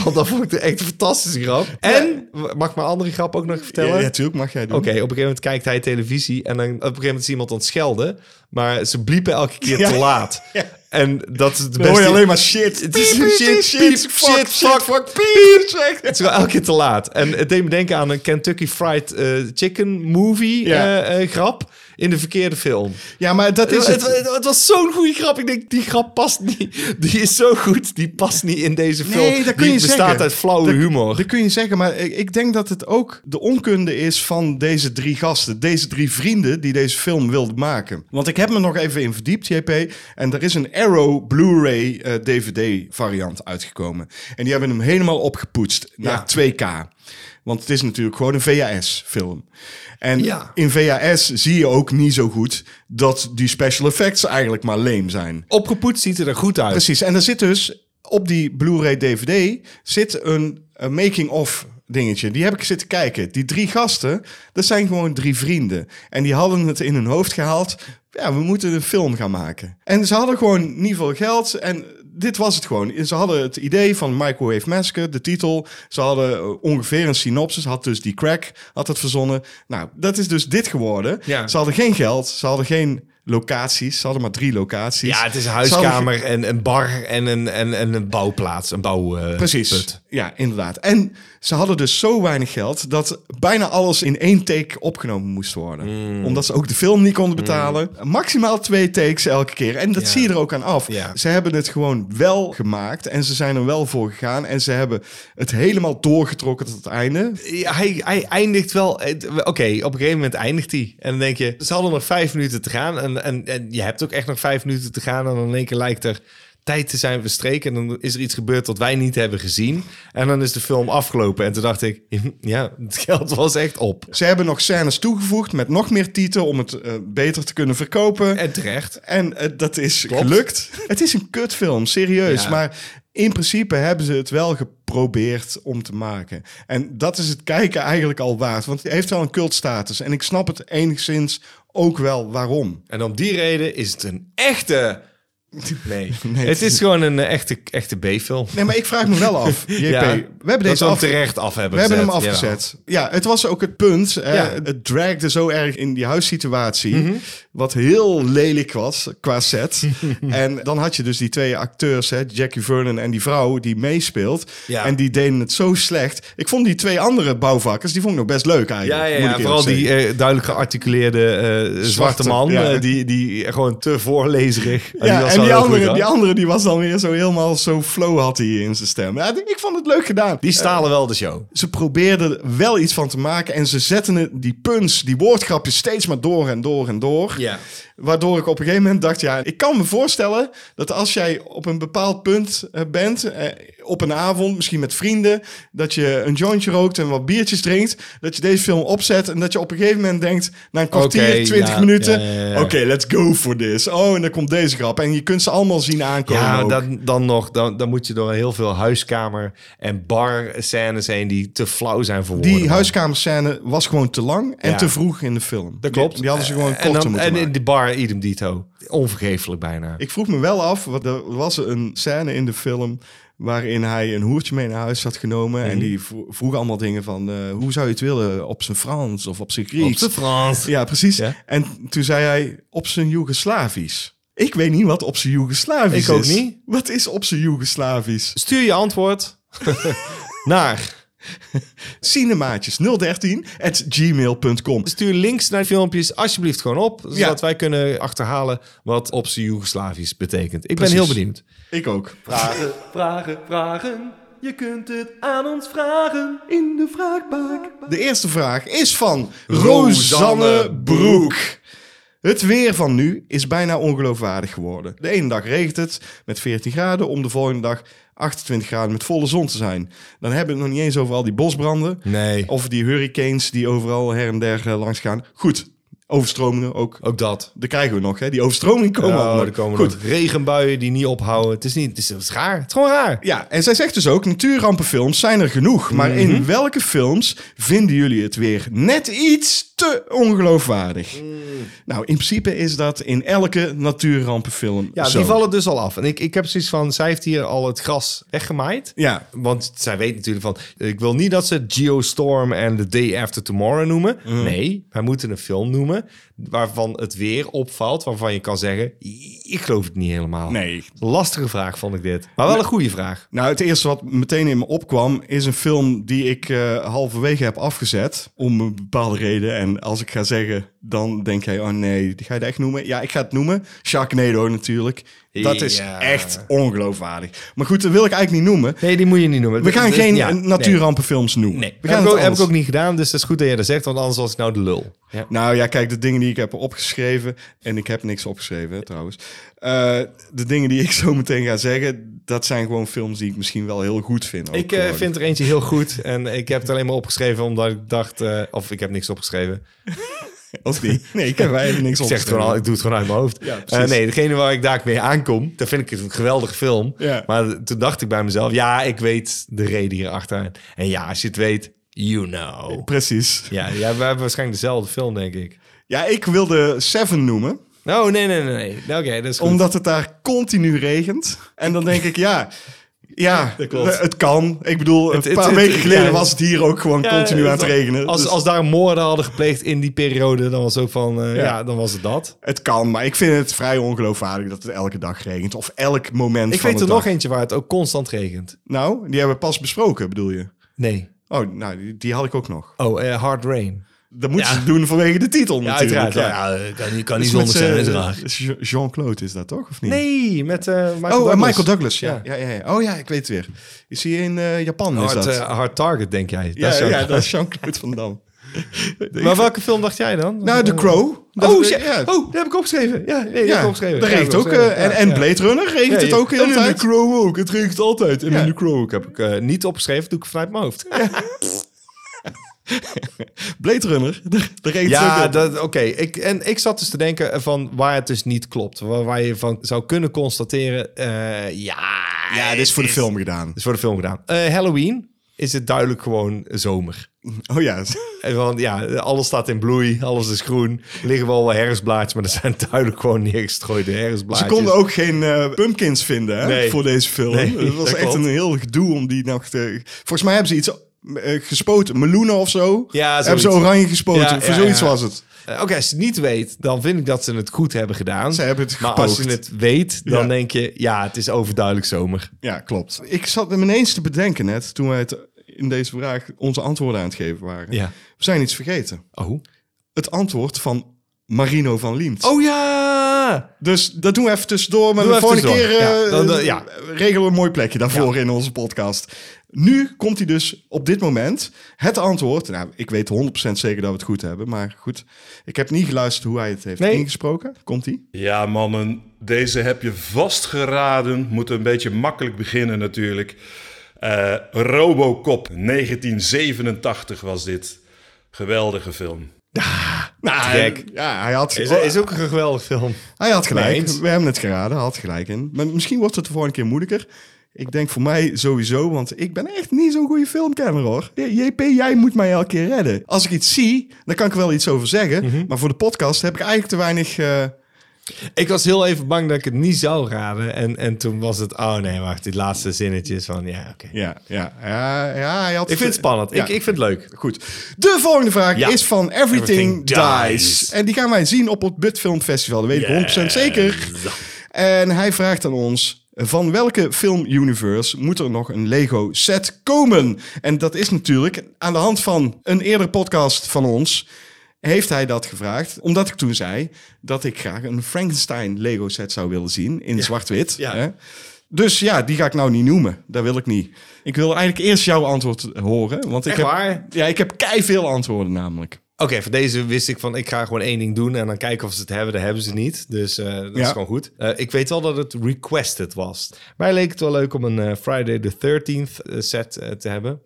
Speaker 1: Want dat vond ik echt een fantastische grap. En, mag ik mijn andere grap ook nog vertellen?
Speaker 2: Ja, natuurlijk mag jij doen.
Speaker 1: Oké, op een gegeven moment kijkt hij televisie en dan op een gegeven moment is iemand aan het schelden, maar ze bliepen elke keer
Speaker 2: Ja.
Speaker 1: te laat.
Speaker 2: Ja.
Speaker 1: En dat is het
Speaker 2: Dan
Speaker 1: beste.
Speaker 2: hoor je alleen maar shit.
Speaker 1: Het is
Speaker 2: Piep,
Speaker 1: shit,
Speaker 2: shit,
Speaker 1: shit,
Speaker 2: shit,
Speaker 1: fuck, fuck,
Speaker 2: fuck, shit,
Speaker 1: fuck,
Speaker 2: fuck,
Speaker 1: piep.
Speaker 2: piep, zeg.
Speaker 1: Het is wel elke keer te laat. En het deed me denken aan een Kentucky Fried eh, Chicken movie
Speaker 2: Ja.
Speaker 1: eh, eh, grap. in de verkeerde film.
Speaker 2: Ja, maar dat is
Speaker 1: het,
Speaker 2: het.
Speaker 1: het, het was zo'n goede grap. Ik denk, die grap past niet. Die is zo goed. Die past niet in deze film.
Speaker 2: Nee, dat kun je
Speaker 1: die bestaat
Speaker 2: zeggen.
Speaker 1: uit flauwe
Speaker 2: Dat-
Speaker 1: humor.
Speaker 2: Dat kun je zeggen, maar ik, ik denk dat het ook de onkunde is van deze drie gasten. Deze drie vrienden die deze film wilden maken. Want ik heb me nog even in verdiept, JP. En er is een Arrow Blu-ray eh, DVD variant uitgekomen. En die hebben hem helemaal opgepoetst naar 2K. Want het is natuurlijk gewoon een VHS-film. En
Speaker 1: Ja.
Speaker 2: in VHS zie je ook niet zo goed dat die special effects eigenlijk maar leem zijn.
Speaker 1: Opgepoetst ziet het er goed uit.
Speaker 2: Precies. En er zit dus op die Blu-ray DVD zit een, een making-of dingetje. Die heb ik zitten kijken. Die drie gasten, dat zijn gewoon drie vrienden. En die hadden het in hun hoofd gehaald. Ja, we moeten een film gaan maken. En ze hadden gewoon niet veel geld. En dit was het gewoon. Ze hadden het idee van Microwave Massacre, de titel. Ze hadden eh, ongeveer een synopsis. Had dus die crack, had het verzonnen. Nou, dat is dus dit geworden.
Speaker 1: Ja.
Speaker 2: Ze hadden geen geld. Ze hadden geen locaties. Ze hadden maar drie locaties.
Speaker 1: Ja, het is een
Speaker 2: Ze hadden
Speaker 1: huiskamer en een bar en een, en, en een bouwplaats. Een bouw. eh,
Speaker 2: Precies.
Speaker 1: put.
Speaker 2: Ja, inderdaad. En ze hadden dus zo weinig geld dat bijna alles in één take opgenomen moest worden.
Speaker 1: Hmm.
Speaker 2: Omdat ze ook de film niet konden betalen. Maximaal twee takes elke keer. En dat
Speaker 1: Ja.
Speaker 2: zie je er ook aan af.
Speaker 1: Ja.
Speaker 2: Ze hebben het gewoon wel gemaakt en ze zijn er wel voor gegaan. En ze hebben het helemaal doorgetrokken tot het einde.
Speaker 1: Ja, hij, hij eindigt wel. het- Oké, op een gegeven moment eindigt hij. En dan denk je, ze hadden nog vijf minuten te gaan. En, en, en je hebt ook echt nog vijf minuten te gaan. En dan in één keer lijkt er tijd te zijn verstreken. En dan is er iets gebeurd dat wij niet hebben gezien. En dan is de film afgelopen. En toen dacht ik, ja, het geld was echt op.
Speaker 2: Ze hebben nog scènes toegevoegd met nog meer titel om het eh, beter te kunnen verkopen.
Speaker 1: En terecht.
Speaker 2: En eh, dat is
Speaker 1: Klopt.
Speaker 2: gelukt. Het is een kutfilm, serieus.
Speaker 1: Ja.
Speaker 2: Maar in principe hebben ze het wel geprobeerd om te maken. En dat is het kijken eigenlijk al waard. Want het heeft wel een cultstatus. En ik snap het enigszins ook wel waarom.
Speaker 1: En om die reden is het een echte... Nee, het is gewoon een eh, echte, echte B-film.
Speaker 2: Nee, maar ik vraag me wel af, JP.
Speaker 1: Ja,
Speaker 2: we hebben
Speaker 1: dat
Speaker 2: deze
Speaker 1: we hem
Speaker 2: af-
Speaker 1: terecht af hebben
Speaker 2: We hebben hem
Speaker 1: gezet, jawel.
Speaker 2: afgezet. Ja, het was ook het punt. eh,
Speaker 1: Ja. Mhm.
Speaker 2: Het dragde zo erg in die huissituatie. Wat heel lelijk was qua set. en dan had je dus die twee acteurs, hè, Jackie Vernon en die vrouw die meespeelt.
Speaker 1: Ja.
Speaker 2: En die deden het zo slecht. Ik vond die twee andere bouwvakkers, die vond ik nog best leuk eigenlijk.
Speaker 1: Ja, ja,
Speaker 2: moet
Speaker 1: ja,
Speaker 2: ik eerlijk
Speaker 1: vooral die
Speaker 2: zeggen.
Speaker 1: eh, duidelijk gearticuleerde eh, zwarte,
Speaker 2: Zwarte,
Speaker 1: man,
Speaker 2: ja.
Speaker 1: eh, die, die gewoon te voorlezerig. eh,
Speaker 2: Ja,
Speaker 1: was
Speaker 2: en
Speaker 1: wel
Speaker 2: die
Speaker 1: heel goed,
Speaker 2: andere,
Speaker 1: hoor.
Speaker 2: die andere die was dan weer zo helemaal zo flow had hij in zijn stem. Ja, ik vond het leuk gedaan.
Speaker 1: die Eh, stalen wel de show.
Speaker 2: ze probeerden er wel iets van te maken. En ze zetten het- die punch, die woordgrapjes steeds maar door en door en door.
Speaker 1: Ja.
Speaker 2: Waardoor ik op een gegeven moment dacht, ja, ik kan me voorstellen dat als jij op een bepaald punt eh, bent, eh, op een avond, misschien met vrienden, dat je een jointje rookt en wat biertjes drinkt, dat je deze film opzet en dat je op een gegeven moment denkt, na een kwartier,
Speaker 1: Oké,
Speaker 2: twintig
Speaker 1: ja,
Speaker 2: minuten,
Speaker 1: ja, ja, ja.
Speaker 2: oké, let's go for this. Oh, en dan komt deze grap. En je kunt ze allemaal zien aankomen.
Speaker 1: Ja,
Speaker 2: ook.
Speaker 1: dan, dan nog, dan, dan moet je door heel veel huiskamer- en bar-scènes heen die te flauw zijn voor woorden.
Speaker 2: Die huiskamerscène was gewoon te lang en
Speaker 1: Ja.
Speaker 2: te vroeg in de film.
Speaker 1: Dat klopt.
Speaker 2: Die, die hadden ze gewoon
Speaker 1: en
Speaker 2: korter
Speaker 1: dan,
Speaker 2: moeten
Speaker 1: En
Speaker 2: maken.
Speaker 1: in de bar idem dito. Onvergeeflijk bijna.
Speaker 2: Ik vroeg me wel af, want er was een scène in de film waarin hij een hoertje mee naar huis had genomen.
Speaker 1: Mhm.
Speaker 2: En die vro- vroeg allemaal dingen van, eh, hoe zou je het willen? Op zijn Frans of op zijn
Speaker 1: Op
Speaker 2: Grieks?
Speaker 1: de Frans.
Speaker 2: Ja, precies.
Speaker 1: Ja.
Speaker 2: En toen zei hij, op zijn Joegoslavisch. Ik weet niet wat op zijn Joegoslavisch is.
Speaker 1: Ik ook niet.
Speaker 2: Wat is op zijn Joegoslavisch?
Speaker 1: Stuur je antwoord naar.
Speaker 2: Cinemaatjes 013 at gmail.com.
Speaker 1: Stuur links naar filmpjes alsjeblieft gewoon op. Zodat
Speaker 2: Ja.
Speaker 1: wij kunnen achterhalen wat op zijn Joegoslavisch betekent. Ik
Speaker 2: Precies.
Speaker 1: ben heel benieuwd.
Speaker 2: Ik ook.
Speaker 7: Vragen, vragen. Je kunt het aan ons vragen in de vraagbaak.
Speaker 2: De eerste vraag is van Rosanne Broek. Het weer van nu is bijna ongeloofwaardig geworden. De ene dag regent het met 14 graden, om de volgende dag 28 graden met volle zon te zijn. Dan hebben we het nog niet eens over al die bosbranden.
Speaker 1: Nee.
Speaker 2: Of die hurricanes die overal her en der eh, langs gaan. Goed, overstromingen ook.
Speaker 1: Ook dat.
Speaker 2: Daar krijgen we nog, hè? Die overstromingen komen
Speaker 1: Ja,
Speaker 2: ook nog.
Speaker 1: er komen
Speaker 2: Goed,
Speaker 1: nog regenbuien die niet ophouden. Het is niet, het is, het is raar. Het is gewoon raar.
Speaker 2: Ja, en zij zegt dus ook, natuurrampenfilms zijn er genoeg. Maar
Speaker 1: Mhm.
Speaker 2: in welke films vinden jullie het weer net iets te ongeloofwaardig?
Speaker 1: Mm.
Speaker 2: Nou, in principe is dat in elke natuurrampenfilm
Speaker 1: Ja,
Speaker 2: zo.
Speaker 1: die vallen dus al af. En ik, ik heb zoiets van, zij heeft hier al het gras weggemaaid.
Speaker 2: Ja,
Speaker 1: Want zij weet natuurlijk van, ik wil niet dat ze Geostorm en The Day After Tomorrow noemen. Nee, wij moeten een film noemen waarvan het weer opvalt. Waarvan je kan zeggen, ik geloof het niet helemaal.
Speaker 2: nee.
Speaker 1: Lastige vraag vond ik dit. Maar wel een goede vraag.
Speaker 2: Nou, het eerste wat meteen in me opkwam is een film die ik eh, halverwege heb afgezet. Om een bepaalde reden. En als ik ga zeggen dan denk jij, oh nee, die ga je dat echt noemen? Ja, ik ga het noemen. Sharknado natuurlijk. Dat is
Speaker 1: Ja.
Speaker 2: echt ongeloofwaardig. Maar goed, dat wil ik eigenlijk niet noemen.
Speaker 1: Nee, die moet je niet noemen.
Speaker 2: We gaan
Speaker 1: Dat is-
Speaker 2: geen
Speaker 1: ja,
Speaker 2: eh,
Speaker 1: nee.
Speaker 2: natuurrampenfilms noemen.
Speaker 1: Nee,
Speaker 2: We gaan
Speaker 1: heb, ik
Speaker 2: het
Speaker 1: ook, heb ik
Speaker 2: anders-
Speaker 1: ook niet gedaan, dus dat is goed dat jij dat zegt, want anders was ik nou de lul. Ja.
Speaker 2: Nou ja, kijk, de dingen die ik heb opgeschreven. En ik heb niks opgeschreven hè, trouwens. Eh, de dingen die ik zo meteen ga zeggen. Dat zijn gewoon films die ik misschien wel heel goed vind. ook
Speaker 1: Ik eh,
Speaker 2: gewoon.
Speaker 1: vind er eentje heel goed en ik heb het alleen maar opgeschreven omdat ik dacht, eh, of ik heb niks opgeschreven.
Speaker 2: Of niet? Nee, ik heb wij hebben niks
Speaker 1: Ik, zeg het
Speaker 2: opgeschreven.
Speaker 1: gewoon al, ik doe het gewoon uit mijn hoofd.
Speaker 2: Ja, precies.
Speaker 1: Eh, nee, degene waar ik daar mee aankom, dat vind ik een geweldige film.
Speaker 2: Ja.
Speaker 1: Maar toen dacht ik bij mezelf, ja, ik weet de reden hierachter. En ja, als je het weet, you know.
Speaker 2: Precies.
Speaker 1: Ja, ja we hebben waarschijnlijk dezelfde film, denk ik.
Speaker 2: Ja, ik wilde Seven noemen.
Speaker 1: Oh, nee, nee, nee. nee. Oké, dat is goed.
Speaker 2: Omdat het daar continu regent. En dan denk ik, ja... Ja,
Speaker 1: Dat klopt.
Speaker 2: het kan. Ik bedoel,
Speaker 1: Het-
Speaker 2: een
Speaker 1: het-
Speaker 2: paar
Speaker 1: het-
Speaker 2: weken geleden
Speaker 1: ja.
Speaker 2: was het hier ook gewoon
Speaker 1: Ja,
Speaker 2: continu aan het
Speaker 1: dat-
Speaker 2: regenen.
Speaker 1: Als,
Speaker 2: Dus
Speaker 1: als daar moorden hadden gepleegd in die periode, dan was het ook van, eh,
Speaker 2: Ja.
Speaker 1: ja. dan was het dat.
Speaker 2: Het kan, maar ik vind het vrij ongeloofwaardig dat het elke dag regent. Of elk moment
Speaker 1: Ik
Speaker 2: van
Speaker 1: weet
Speaker 2: de
Speaker 1: er
Speaker 2: dag.
Speaker 1: nog eentje waar het ook constant regent.
Speaker 2: Nou, die hebben we pas besproken, bedoel je?
Speaker 1: Nee.
Speaker 2: Oh, nou, die, die had ik ook nog.
Speaker 1: Oh, eh, Hard Rain.
Speaker 2: Dat moet ze doen vanwege de titel
Speaker 1: Ja,
Speaker 2: natuurlijk.
Speaker 1: uiteraard. Ja, Dus ja, eh, kan, kan niet zonder
Speaker 2: Dat is met
Speaker 1: zijn,
Speaker 2: z'n-
Speaker 1: uiteraard.
Speaker 2: Je- Jean-Claude is dat toch, of niet?
Speaker 1: Nee, met eh,
Speaker 2: Oh,
Speaker 1: Michael
Speaker 2: Michael Douglas.
Speaker 1: Douglas.
Speaker 2: Michael Douglas, ja.
Speaker 1: Ja.
Speaker 2: Ja. Ja, ja. Oh ja, ik weet het weer. Is hier in eh, Japan, is
Speaker 1: Hard,
Speaker 2: dat?
Speaker 1: eh, hard Target, denk jij. Dat
Speaker 2: ja,
Speaker 1: is
Speaker 2: ja,
Speaker 1: ook-
Speaker 2: dat is Jean-Claude Van Dam.
Speaker 1: Maar welke film dacht jij dan?
Speaker 2: Nou, The
Speaker 1: Eh,
Speaker 2: Crow. Dat-
Speaker 1: Oh, shit.
Speaker 2: ja.
Speaker 1: oh, dat heb ik opgeschreven. Ja, nee, dat
Speaker 2: Ja,
Speaker 1: heb ik opgeschreven.
Speaker 2: dat
Speaker 1: Ja,
Speaker 2: regent
Speaker 1: heb ik
Speaker 2: ook.
Speaker 1: opgeschreven.
Speaker 2: eh, en,
Speaker 1: Ja,
Speaker 2: en
Speaker 1: ja.
Speaker 2: Blade Runner regent
Speaker 1: Ja,
Speaker 2: het ook
Speaker 1: en
Speaker 2: heel de
Speaker 1: in
Speaker 2: tijd.
Speaker 1: The Crow ook. Het regent altijd. En
Speaker 2: Ja.
Speaker 1: in The Crow ook heb ik eh, niet opgeschreven. Doe ik vanuit mijn hoofd.
Speaker 2: Blade Runner, daar daar regent het ook
Speaker 1: Ja,
Speaker 2: eh, heel-
Speaker 1: dat- oké. Ik, en ik zat dus te denken van waar het dus niet klopt. Waar, waar je van zou kunnen constateren, eh, ja...
Speaker 2: ja, dit is voor de film gedaan.
Speaker 1: Dit is voor de film gedaan. Eh, Halloween is het duidelijk gewoon zomer.
Speaker 2: Oh ja,
Speaker 1: En Want ja, alles staat in bloei, alles is groen. Er liggen wel wat herfstblaadjes, maar dat zijn duidelijk gewoon neergestrooide
Speaker 2: ze
Speaker 1: herfstblaadjes.
Speaker 2: konden ook geen eh, pumpkins vinden hè,
Speaker 1: Nee.
Speaker 2: voor deze film.
Speaker 1: Nee,
Speaker 2: het was
Speaker 1: dat
Speaker 2: echt
Speaker 1: klopt.
Speaker 2: een heel gedoe om die nacht... eh, volgens mij hebben ze iets eh, gespoten, meloenen of zo.
Speaker 1: Ja,
Speaker 2: hebben ze
Speaker 1: zoiets.
Speaker 2: oranje gespoten,
Speaker 1: Ja,
Speaker 2: voor
Speaker 1: ja,
Speaker 2: zoiets
Speaker 1: ja.
Speaker 2: was het.
Speaker 1: Eh, Oké, als je het niet weet, dan vind ik dat ze het goed hebben gedaan.
Speaker 2: Ze hebben het
Speaker 1: maar
Speaker 2: gepoogd.
Speaker 1: als je het weet, dan
Speaker 2: Ja.
Speaker 1: denk je, ja, het is overduidelijk zomer.
Speaker 2: Ja, klopt. Ik zat me ineens te bedenken net, toen wij het in deze vraag onze antwoorden aan het geven waren.
Speaker 1: Ja.
Speaker 2: We zijn iets vergeten.
Speaker 1: Oh.
Speaker 2: Het antwoord van Marino van Liemt.
Speaker 1: Oh ja!
Speaker 2: Dus dat doen we even tussendoor. Maar
Speaker 1: Doe
Speaker 2: de
Speaker 1: even
Speaker 2: volgende keer
Speaker 1: tussendoor.
Speaker 2: eh,
Speaker 1: Ja, dan- dan- ja.
Speaker 2: regelen we een mooi plekje daarvoor in onze podcast. Nu komt hij dus op dit moment. Het antwoord, nou, ik weet 100% zeker dat we het goed hebben. Maar goed, ik heb niet geluisterd hoe hij het heeft
Speaker 1: Nee.
Speaker 2: ingesproken. Komt hij?
Speaker 4: Ja, mannen, deze heb je vastgeraden. Moet een beetje makkelijk beginnen natuurlijk. Eh, Robocop 1987 was dit. Geweldige film.
Speaker 1: Trek.
Speaker 2: Ja, hij had,
Speaker 1: Is, is ook een geweldig film.
Speaker 2: hij had gelijk.
Speaker 1: Mee eens.
Speaker 2: We hebben het geraden, hij had gelijk in. Maar misschien wordt het de volgende keer moeilijker. Ik denk voor mij sowieso, want ik ben echt niet zo'n goede filmkenner hoor. Ja, JP, jij moet mij elke keer redden. Als ik iets zie, dan kan ik er wel iets over zeggen. Maar voor de podcast heb ik eigenlijk te weinig... eh,
Speaker 1: Ik was heel even bang dat ik het niet zou raden. En, en toen was het, oh nee, wacht, dit laatste zinnetje is van, ja, oké.
Speaker 2: Ja, ja, ja, ja hij had...
Speaker 1: Ik vind het spannend.
Speaker 2: Ja,
Speaker 1: Ik, ik vind het leuk.
Speaker 2: Goed. De volgende vraag
Speaker 1: Ja.
Speaker 2: is van Everything,
Speaker 1: Everything
Speaker 2: Dies.
Speaker 1: Dies.
Speaker 2: En die gaan wij zien op het Budfilm Festival. Dat weet ik 100% zeker. En hij vraagt aan ons... Van welke filmuniverse moet er nog een Lego set komen? En dat is natuurlijk aan de hand van een eerdere podcast van ons. Heeft hij dat gevraagd? Omdat ik toen zei dat ik graag een Frankenstein Lego set zou willen zien in zwart-wit.
Speaker 1: Ja.
Speaker 2: hè? Dus ja, die ga ik nou niet noemen. Dat wil ik niet. Ik wil eigenlijk eerst jouw antwoord horen. Want ik
Speaker 1: Echt
Speaker 2: heb,
Speaker 1: waar?
Speaker 2: Ja, ik heb kei veel antwoorden namelijk.
Speaker 1: Oké, voor deze wist ik van, ik ga gewoon één ding doen en dan kijken of ze het hebben. Dat hebben ze niet, dus eh, dat
Speaker 2: Ja.
Speaker 1: is gewoon goed. Eh, ik weet wel dat het requested was. Mij leek het wel leuk om een eh, Friday the 13th eh, set eh, te hebben.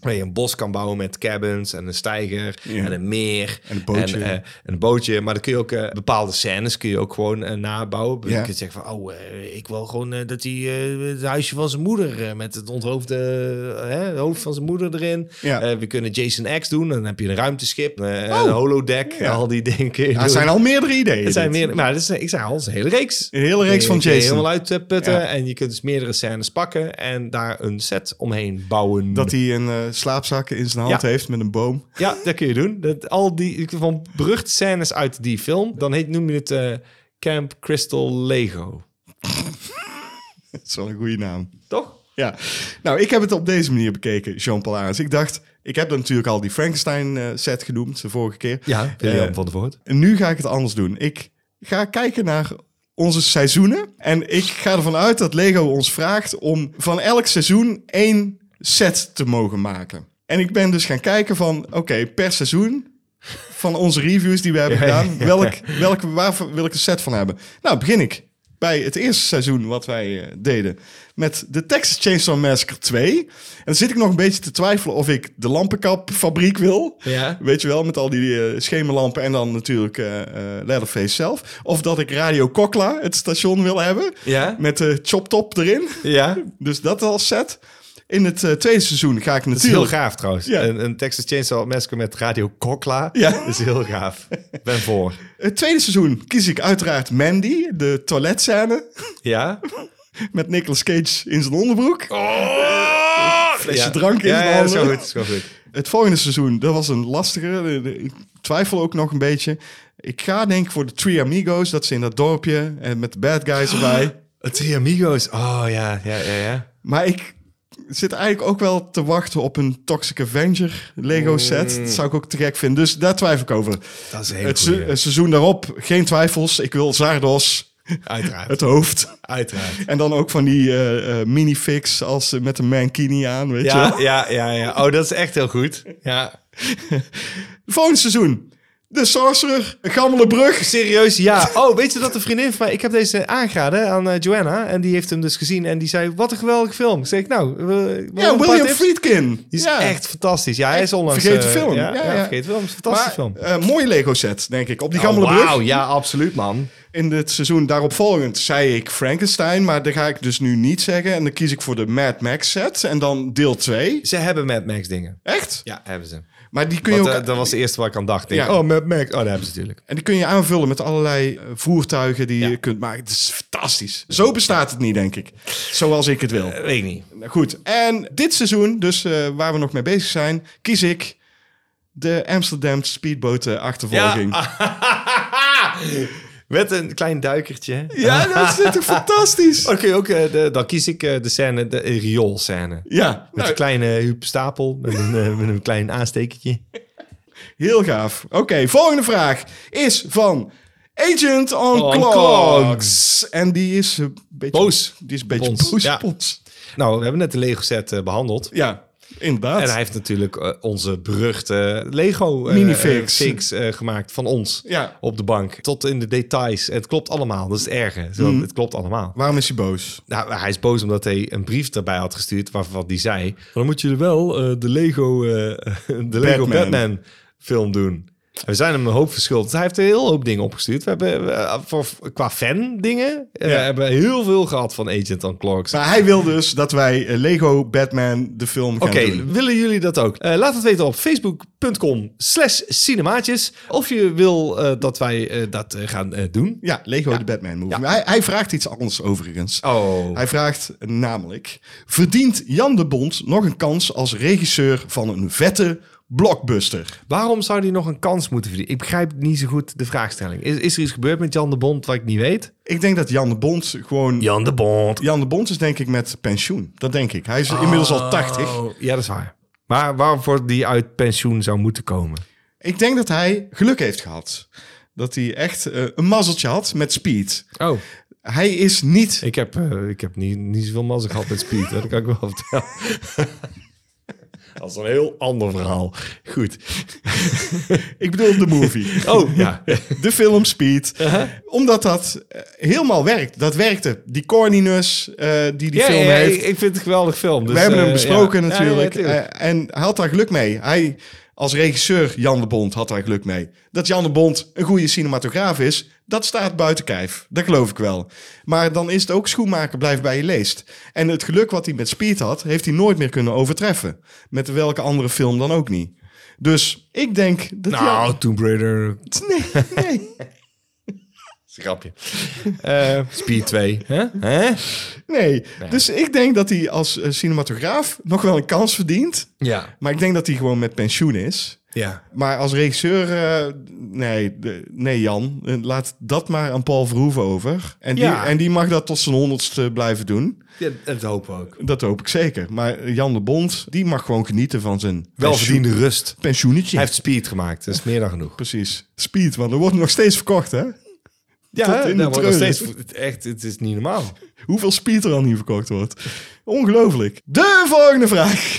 Speaker 1: Waar je een bos kan bouwen met cabins en een steiger
Speaker 2: Mhm. Ja.
Speaker 1: en een meer.
Speaker 2: En een bootje.
Speaker 1: En, eh, een bootje. Maar dan kun je ook eh, bepaalde scènes kun je ook gewoon eh, nabouwen.
Speaker 2: Ja.
Speaker 1: Je kunt zeggen van, oh, eh, ik wil gewoon eh, dat hij eh, het huisje van zijn moeder eh, met het onthoofde eh, hè, hoofd van zijn moeder erin.
Speaker 2: Ja.
Speaker 1: Eh, we kunnen Jason X doen. Dan heb je een ruimteschip, eh, een holodeck,
Speaker 2: Ja.
Speaker 1: al die dingen. kun je
Speaker 2: Ja,
Speaker 1: doen.
Speaker 2: er zijn al meerdere ideeën.
Speaker 1: Het zijn
Speaker 2: dit.
Speaker 1: meer, maar dit is, ik zei al, het is een hele reeks.
Speaker 2: Een hele reeks
Speaker 1: Je
Speaker 2: van
Speaker 1: kun je
Speaker 2: Jason.
Speaker 1: helemaal uitputten.
Speaker 2: Ja.
Speaker 1: En je kunt dus meerdere scènes pakken en daar een set omheen bouwen.
Speaker 2: Dat hij een eh, slaapzak in zijn hand
Speaker 1: Ja.
Speaker 2: heeft met een boom.
Speaker 1: Ja, dat kun je doen. Dat, al die van beruchte scènes uit die film. Dan heet, noem je het eh, Camp Crystal Lego.
Speaker 2: Dat is wel een goede naam.
Speaker 1: Toch?
Speaker 2: Ja. Nou, ik heb het op deze manier bekeken, Jean-Paul Arens. Ik dacht, Ik heb dan natuurlijk al die Frankenstein eh, set genoemd de vorige keer.
Speaker 1: Ja, William
Speaker 2: Eh,
Speaker 1: van der Voort.
Speaker 2: en nu ga ik het anders doen. Ik ga kijken naar onze seizoenen. En ik ga ervan uit dat Lego ons vraagt om van elk seizoen één set te mogen maken. En ik ben dus gaan kijken van, oké, per seizoen van onze reviews die we hebben gedaan, welk, welk, waar wil ik een set van hebben? Nou, begin ik bij het eerste seizoen wat wij eh, deden met de Texas Chainsaw Massacre 2. En dan zit ik nog een beetje te twijfelen of ik de lampenkapfabriek wil.
Speaker 1: Ja.
Speaker 2: Weet je wel, met al die eh, schemerlampen en dan natuurlijk eh eh, Leatherface zelf. Of dat ik Radio Kokla, het station, wil hebben.
Speaker 1: Ja.
Speaker 2: Met de Chop Top erin.
Speaker 1: Ja.
Speaker 2: Dus dat al set. In het eh, tweede seizoen ga ik
Speaker 1: Dat is heel
Speaker 2: natuurlijk...
Speaker 1: gaaf trouwens.
Speaker 2: Ja.
Speaker 1: Een, een Texas Chainsaw Massacre met Radio Kokla.
Speaker 2: Ja.
Speaker 1: Dat is heel gaaf. Ik ben voor.
Speaker 2: Het tweede seizoen kies ik uiteraard Mandy, de toiletscène.
Speaker 1: Ja?
Speaker 2: Met Nicolas Cage in zijn onderbroek. flesje
Speaker 1: Oh! ja.
Speaker 2: drank in
Speaker 1: Ja,
Speaker 2: zijn
Speaker 1: ja, is
Speaker 2: handen.
Speaker 1: wel goed. Is wel goed.
Speaker 2: Het volgende seizoen, dat was een lastige. Ik twijfel ook nog een beetje. Ik ga denk ik voor de Three Amigos. Dat ze in dat dorpje en met de bad guys erbij.
Speaker 1: Het Three Amigos. Oh ja, ja, ja, ja.
Speaker 2: Maar ik zit eigenlijk ook wel te wachten op een Toxic Avenger Lego set. Dat zou ik ook te gek vinden. Dus daar twijfel ik over.
Speaker 1: Mm. Dat is een hele
Speaker 2: Het
Speaker 1: goeie.
Speaker 2: se- het seizoen daarop, geen twijfels. Ik wil Zardos,
Speaker 1: Uiteraard.
Speaker 2: het hoofd.
Speaker 1: Uiteraard.
Speaker 2: En dan ook van die eh eh minifix als, eh, met een mankini aan, weet je wel.
Speaker 1: Ja, ja, ja, ja. Oh, dat is echt heel goed. Ja.
Speaker 2: Volgend seizoen. De Sorcerer, Gammele Brug.
Speaker 1: Serieus, ja. Oh, weet je dat een vriendin van mij... Ik heb deze aangeraden aan eh, Joanna. En die heeft hem dus gezien. En die zei, wat een geweldige film. Zeg ik, nou... we- we-
Speaker 2: Ja,
Speaker 1: een paar
Speaker 2: William
Speaker 1: tips.
Speaker 2: Friedkin.
Speaker 1: Die is
Speaker 2: ja.
Speaker 1: echt fantastisch. Ja, hij is onlangs...
Speaker 2: Vergeet de
Speaker 1: eh,
Speaker 2: film.
Speaker 1: Ja,
Speaker 2: Ja,
Speaker 1: ja,
Speaker 2: ja.
Speaker 1: vergeet de film. Het is een
Speaker 2: Maar,
Speaker 1: fantastische film.
Speaker 2: eh, mooie Lego set, denk ik. Op die Gammele
Speaker 1: Oh,
Speaker 2: Brug.
Speaker 1: wauw. Ja, absoluut, man.
Speaker 2: In het seizoen daaropvolgend zei ik Frankenstein, maar dat ga ik dus nu niet zeggen. En dan kies ik voor de Mad Max set en dan deel 2.
Speaker 1: Ze hebben Mad Max dingen.
Speaker 2: Echt?
Speaker 1: Ja, hebben ze.
Speaker 2: Maar die kun je
Speaker 1: Want,
Speaker 2: ook...
Speaker 1: eh, dat was de eerste waar ik aan dacht. Denk,
Speaker 2: Ja.
Speaker 1: Oh, Mad Max. Oh, dat hebben ze natuurlijk.
Speaker 2: en die kun je aanvullen met allerlei eh, voertuigen die je kunt maken. Het is fantastisch. Zo bestaat het niet, denk ik. Zoals ik het wil.
Speaker 1: Weet ik niet.
Speaker 2: Nou, Goed. En dit seizoen, dus eh, waar we nog mee bezig zijn, kies ik de Amsterdam Speedboat eh, achtervolging.
Speaker 1: Met een klein duikertje.
Speaker 2: Ja, dat is natuurlijk fantastisch.
Speaker 1: Oké, ook, eh, de- dan kies ik eh, de scène, de rioolscène.
Speaker 2: Ja,
Speaker 1: Met
Speaker 2: nou,
Speaker 1: een kleine Huub Stapel, met een, eh, met een klein aanstekertje.
Speaker 2: heel gaaf. Oké, volgende vraag is van Agent on,
Speaker 1: On
Speaker 2: Clogs.
Speaker 1: Clogs.
Speaker 2: En die is een beetje
Speaker 1: Boos.
Speaker 2: Die is een beetje
Speaker 1: Bons,
Speaker 2: boos.
Speaker 1: ja.
Speaker 2: Bons.
Speaker 1: Nou, we hebben net de Lego set eh, behandeld.
Speaker 2: Ja, inderdaad.
Speaker 1: En hij heeft natuurlijk eh, onze beruchte Lego eh,
Speaker 2: Minifix.
Speaker 1: eh, fix, eh, gemaakt van ons
Speaker 2: Ja.
Speaker 1: op de bank. Tot in de details. Het klopt allemaal. Dat is het erge. Zo,
Speaker 2: Mm.
Speaker 1: Het klopt allemaal.
Speaker 2: Waarom is hij boos?
Speaker 1: Nou, hij is boos omdat hij een brief daarbij had gestuurd waarvan die zei... Dan moet je wel eh, de Lego, eh, de Lego
Speaker 2: Batman.
Speaker 1: Batman. film doen. We zijn hem een hoop verschuldigd. Hij heeft een heel hoop dingen opgestuurd. We hebben eh, voor, qua fan dingen eh,
Speaker 2: Ja.
Speaker 1: hebben we heel veel gehad van Agent on Clocks.
Speaker 2: Maar hij wil dus dat wij eh, Lego Batman de film gaan
Speaker 1: Oké,
Speaker 2: doen.
Speaker 1: willen jullie dat ook? Eh, laat het weten op facebook.com slash cinemaatjes. Of je wil eh, dat wij eh, dat eh, gaan eh, doen.
Speaker 2: Ja, Lego de Batman movie. Maar Hij, hij vraagt iets anders overigens.
Speaker 1: Oh.
Speaker 2: Hij vraagt namelijk: verdient Jan de Bond nog een kans als regisseur van een vette blockbuster?
Speaker 1: Waarom zou hij nog een kans moeten verdienen? Ik begrijp niet zo goed de vraagstelling. Is, is er iets gebeurd met Jan de Bond wat ik niet weet?
Speaker 2: Ik denk dat Jan de Bond gewoon.
Speaker 1: Jan de Bond.
Speaker 2: Jan de Bond is denk ik met pensioen. Dat denk ik. Hij is inmiddels al 80.
Speaker 1: Ja, dat is waar. Maar waarvoor die uit pensioen zou moeten komen?
Speaker 2: Ik denk dat hij geluk heeft gehad. Dat hij echt eh, een mazzeltje had met Speed.
Speaker 1: Oh,
Speaker 2: Hij is niet.
Speaker 1: ik heb, eh, ik heb niet, niet zoveel mazzel gehad met Speed. hè. Dat kan ik wel vertellen. Dat is een heel ander verhaal. Goed.
Speaker 2: Ik bedoel de movie.
Speaker 1: Oh, Uh-huh. ja.
Speaker 2: de film Speed. Omdat dat eh, helemaal werkt. Dat werkte. Die corniness eh, die die
Speaker 1: ja,
Speaker 2: film
Speaker 1: ja, ja,
Speaker 2: heeft.
Speaker 1: ik, ik vind het een geweldig film. Dus,
Speaker 2: We hebben hem
Speaker 1: eh,
Speaker 2: besproken
Speaker 1: ja.
Speaker 2: natuurlijk.
Speaker 1: Ja, ja, tuurlijk.
Speaker 2: Eh, en hij had daar geluk mee. Hij, als regisseur Jan de Bond, had daar geluk mee. Dat Jan de Bond een goede cinematograaf is, dat staat buiten kijf. Dat geloof ik wel. Maar dan is het ook schoenmaker blijft bij je leest. En het geluk wat hij met Speed had, heeft hij nooit meer kunnen overtreffen. Met welke andere film dan ook niet. Dus ik denk dat
Speaker 1: nou, Tomb Raider.
Speaker 2: Jan- Nee, nee.
Speaker 1: Grapje. Speed 2. Hè? Hè?
Speaker 2: Nee. Dus ik denk dat hij als eh, cinematograaf nog wel een kans verdient.
Speaker 1: Ja.
Speaker 2: Maar ik denk dat hij gewoon met pensioen is.
Speaker 1: Ja.
Speaker 2: Maar als regisseur, eh, nee, de- nee Jan, Eh, laat dat maar aan Paul Verhoeven over. En die,
Speaker 1: Ja.
Speaker 2: en die mag dat tot zijn honderdste blijven doen.
Speaker 1: ja, dat hopen we ook.
Speaker 2: Dat hoop ik zeker. Maar Jan de Bond, die mag gewoon genieten van zijn
Speaker 1: Welverdiende rust.
Speaker 2: pensioen- pensioenetje.
Speaker 1: Hij heeft speed gemaakt, dat is meer dan genoeg.
Speaker 2: Precies. Speed, want er wordt nog steeds verkocht, hè? Tot
Speaker 1: Ja,
Speaker 2: in de
Speaker 1: dat wordt nog
Speaker 2: treuren.
Speaker 1: steeds het- echt, het is niet normaal.
Speaker 2: Hoeveel speed er al niet verkocht wordt. Ongelooflijk. De volgende vraag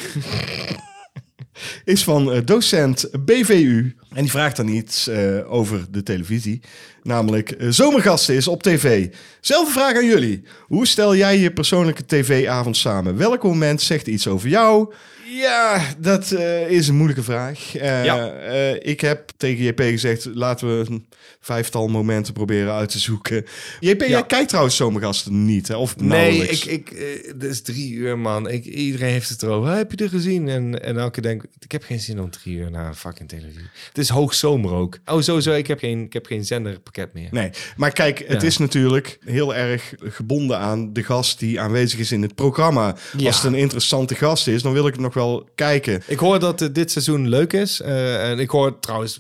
Speaker 2: is van eh, docent BVU. En die vraagt dan iets eh, over de televisie. Namelijk, eh, zomergasten is op tv. Zelfde vraag aan jullie. Hoe stel jij je persoonlijke tv-avond samen? Welk moment zegt iets over jou? Ja, dat eh, is een moeilijke vraag. Eh,
Speaker 1: Ja.
Speaker 2: eh, ik heb tegen JP gezegd, laten we een vijftal momenten proberen uit te zoeken. JP, jij kijkt trouwens zomergasten niet, hè? Of
Speaker 1: Nee,
Speaker 2: nauwelijks.
Speaker 1: ik, ik, eh, het is drie uur, man. Ik, iedereen heeft het erover. Heb je er gezien? En, en elke denk ik heb geen zin om drie uur naar fucking televisie. Het is hoogzomer ook. Oh, sowieso, ik heb geen, ik heb geen zenderpakket meer.
Speaker 2: Nee, maar kijk, het
Speaker 1: Ja.
Speaker 2: is natuurlijk heel erg gebonden aan de gast die aanwezig is in het programma.
Speaker 1: Ja.
Speaker 2: Als het een interessante gast is, dan wil ik het nog wel kijken.
Speaker 1: Ik hoor dat eh, dit seizoen leuk is. eh, en ik hoor trouwens,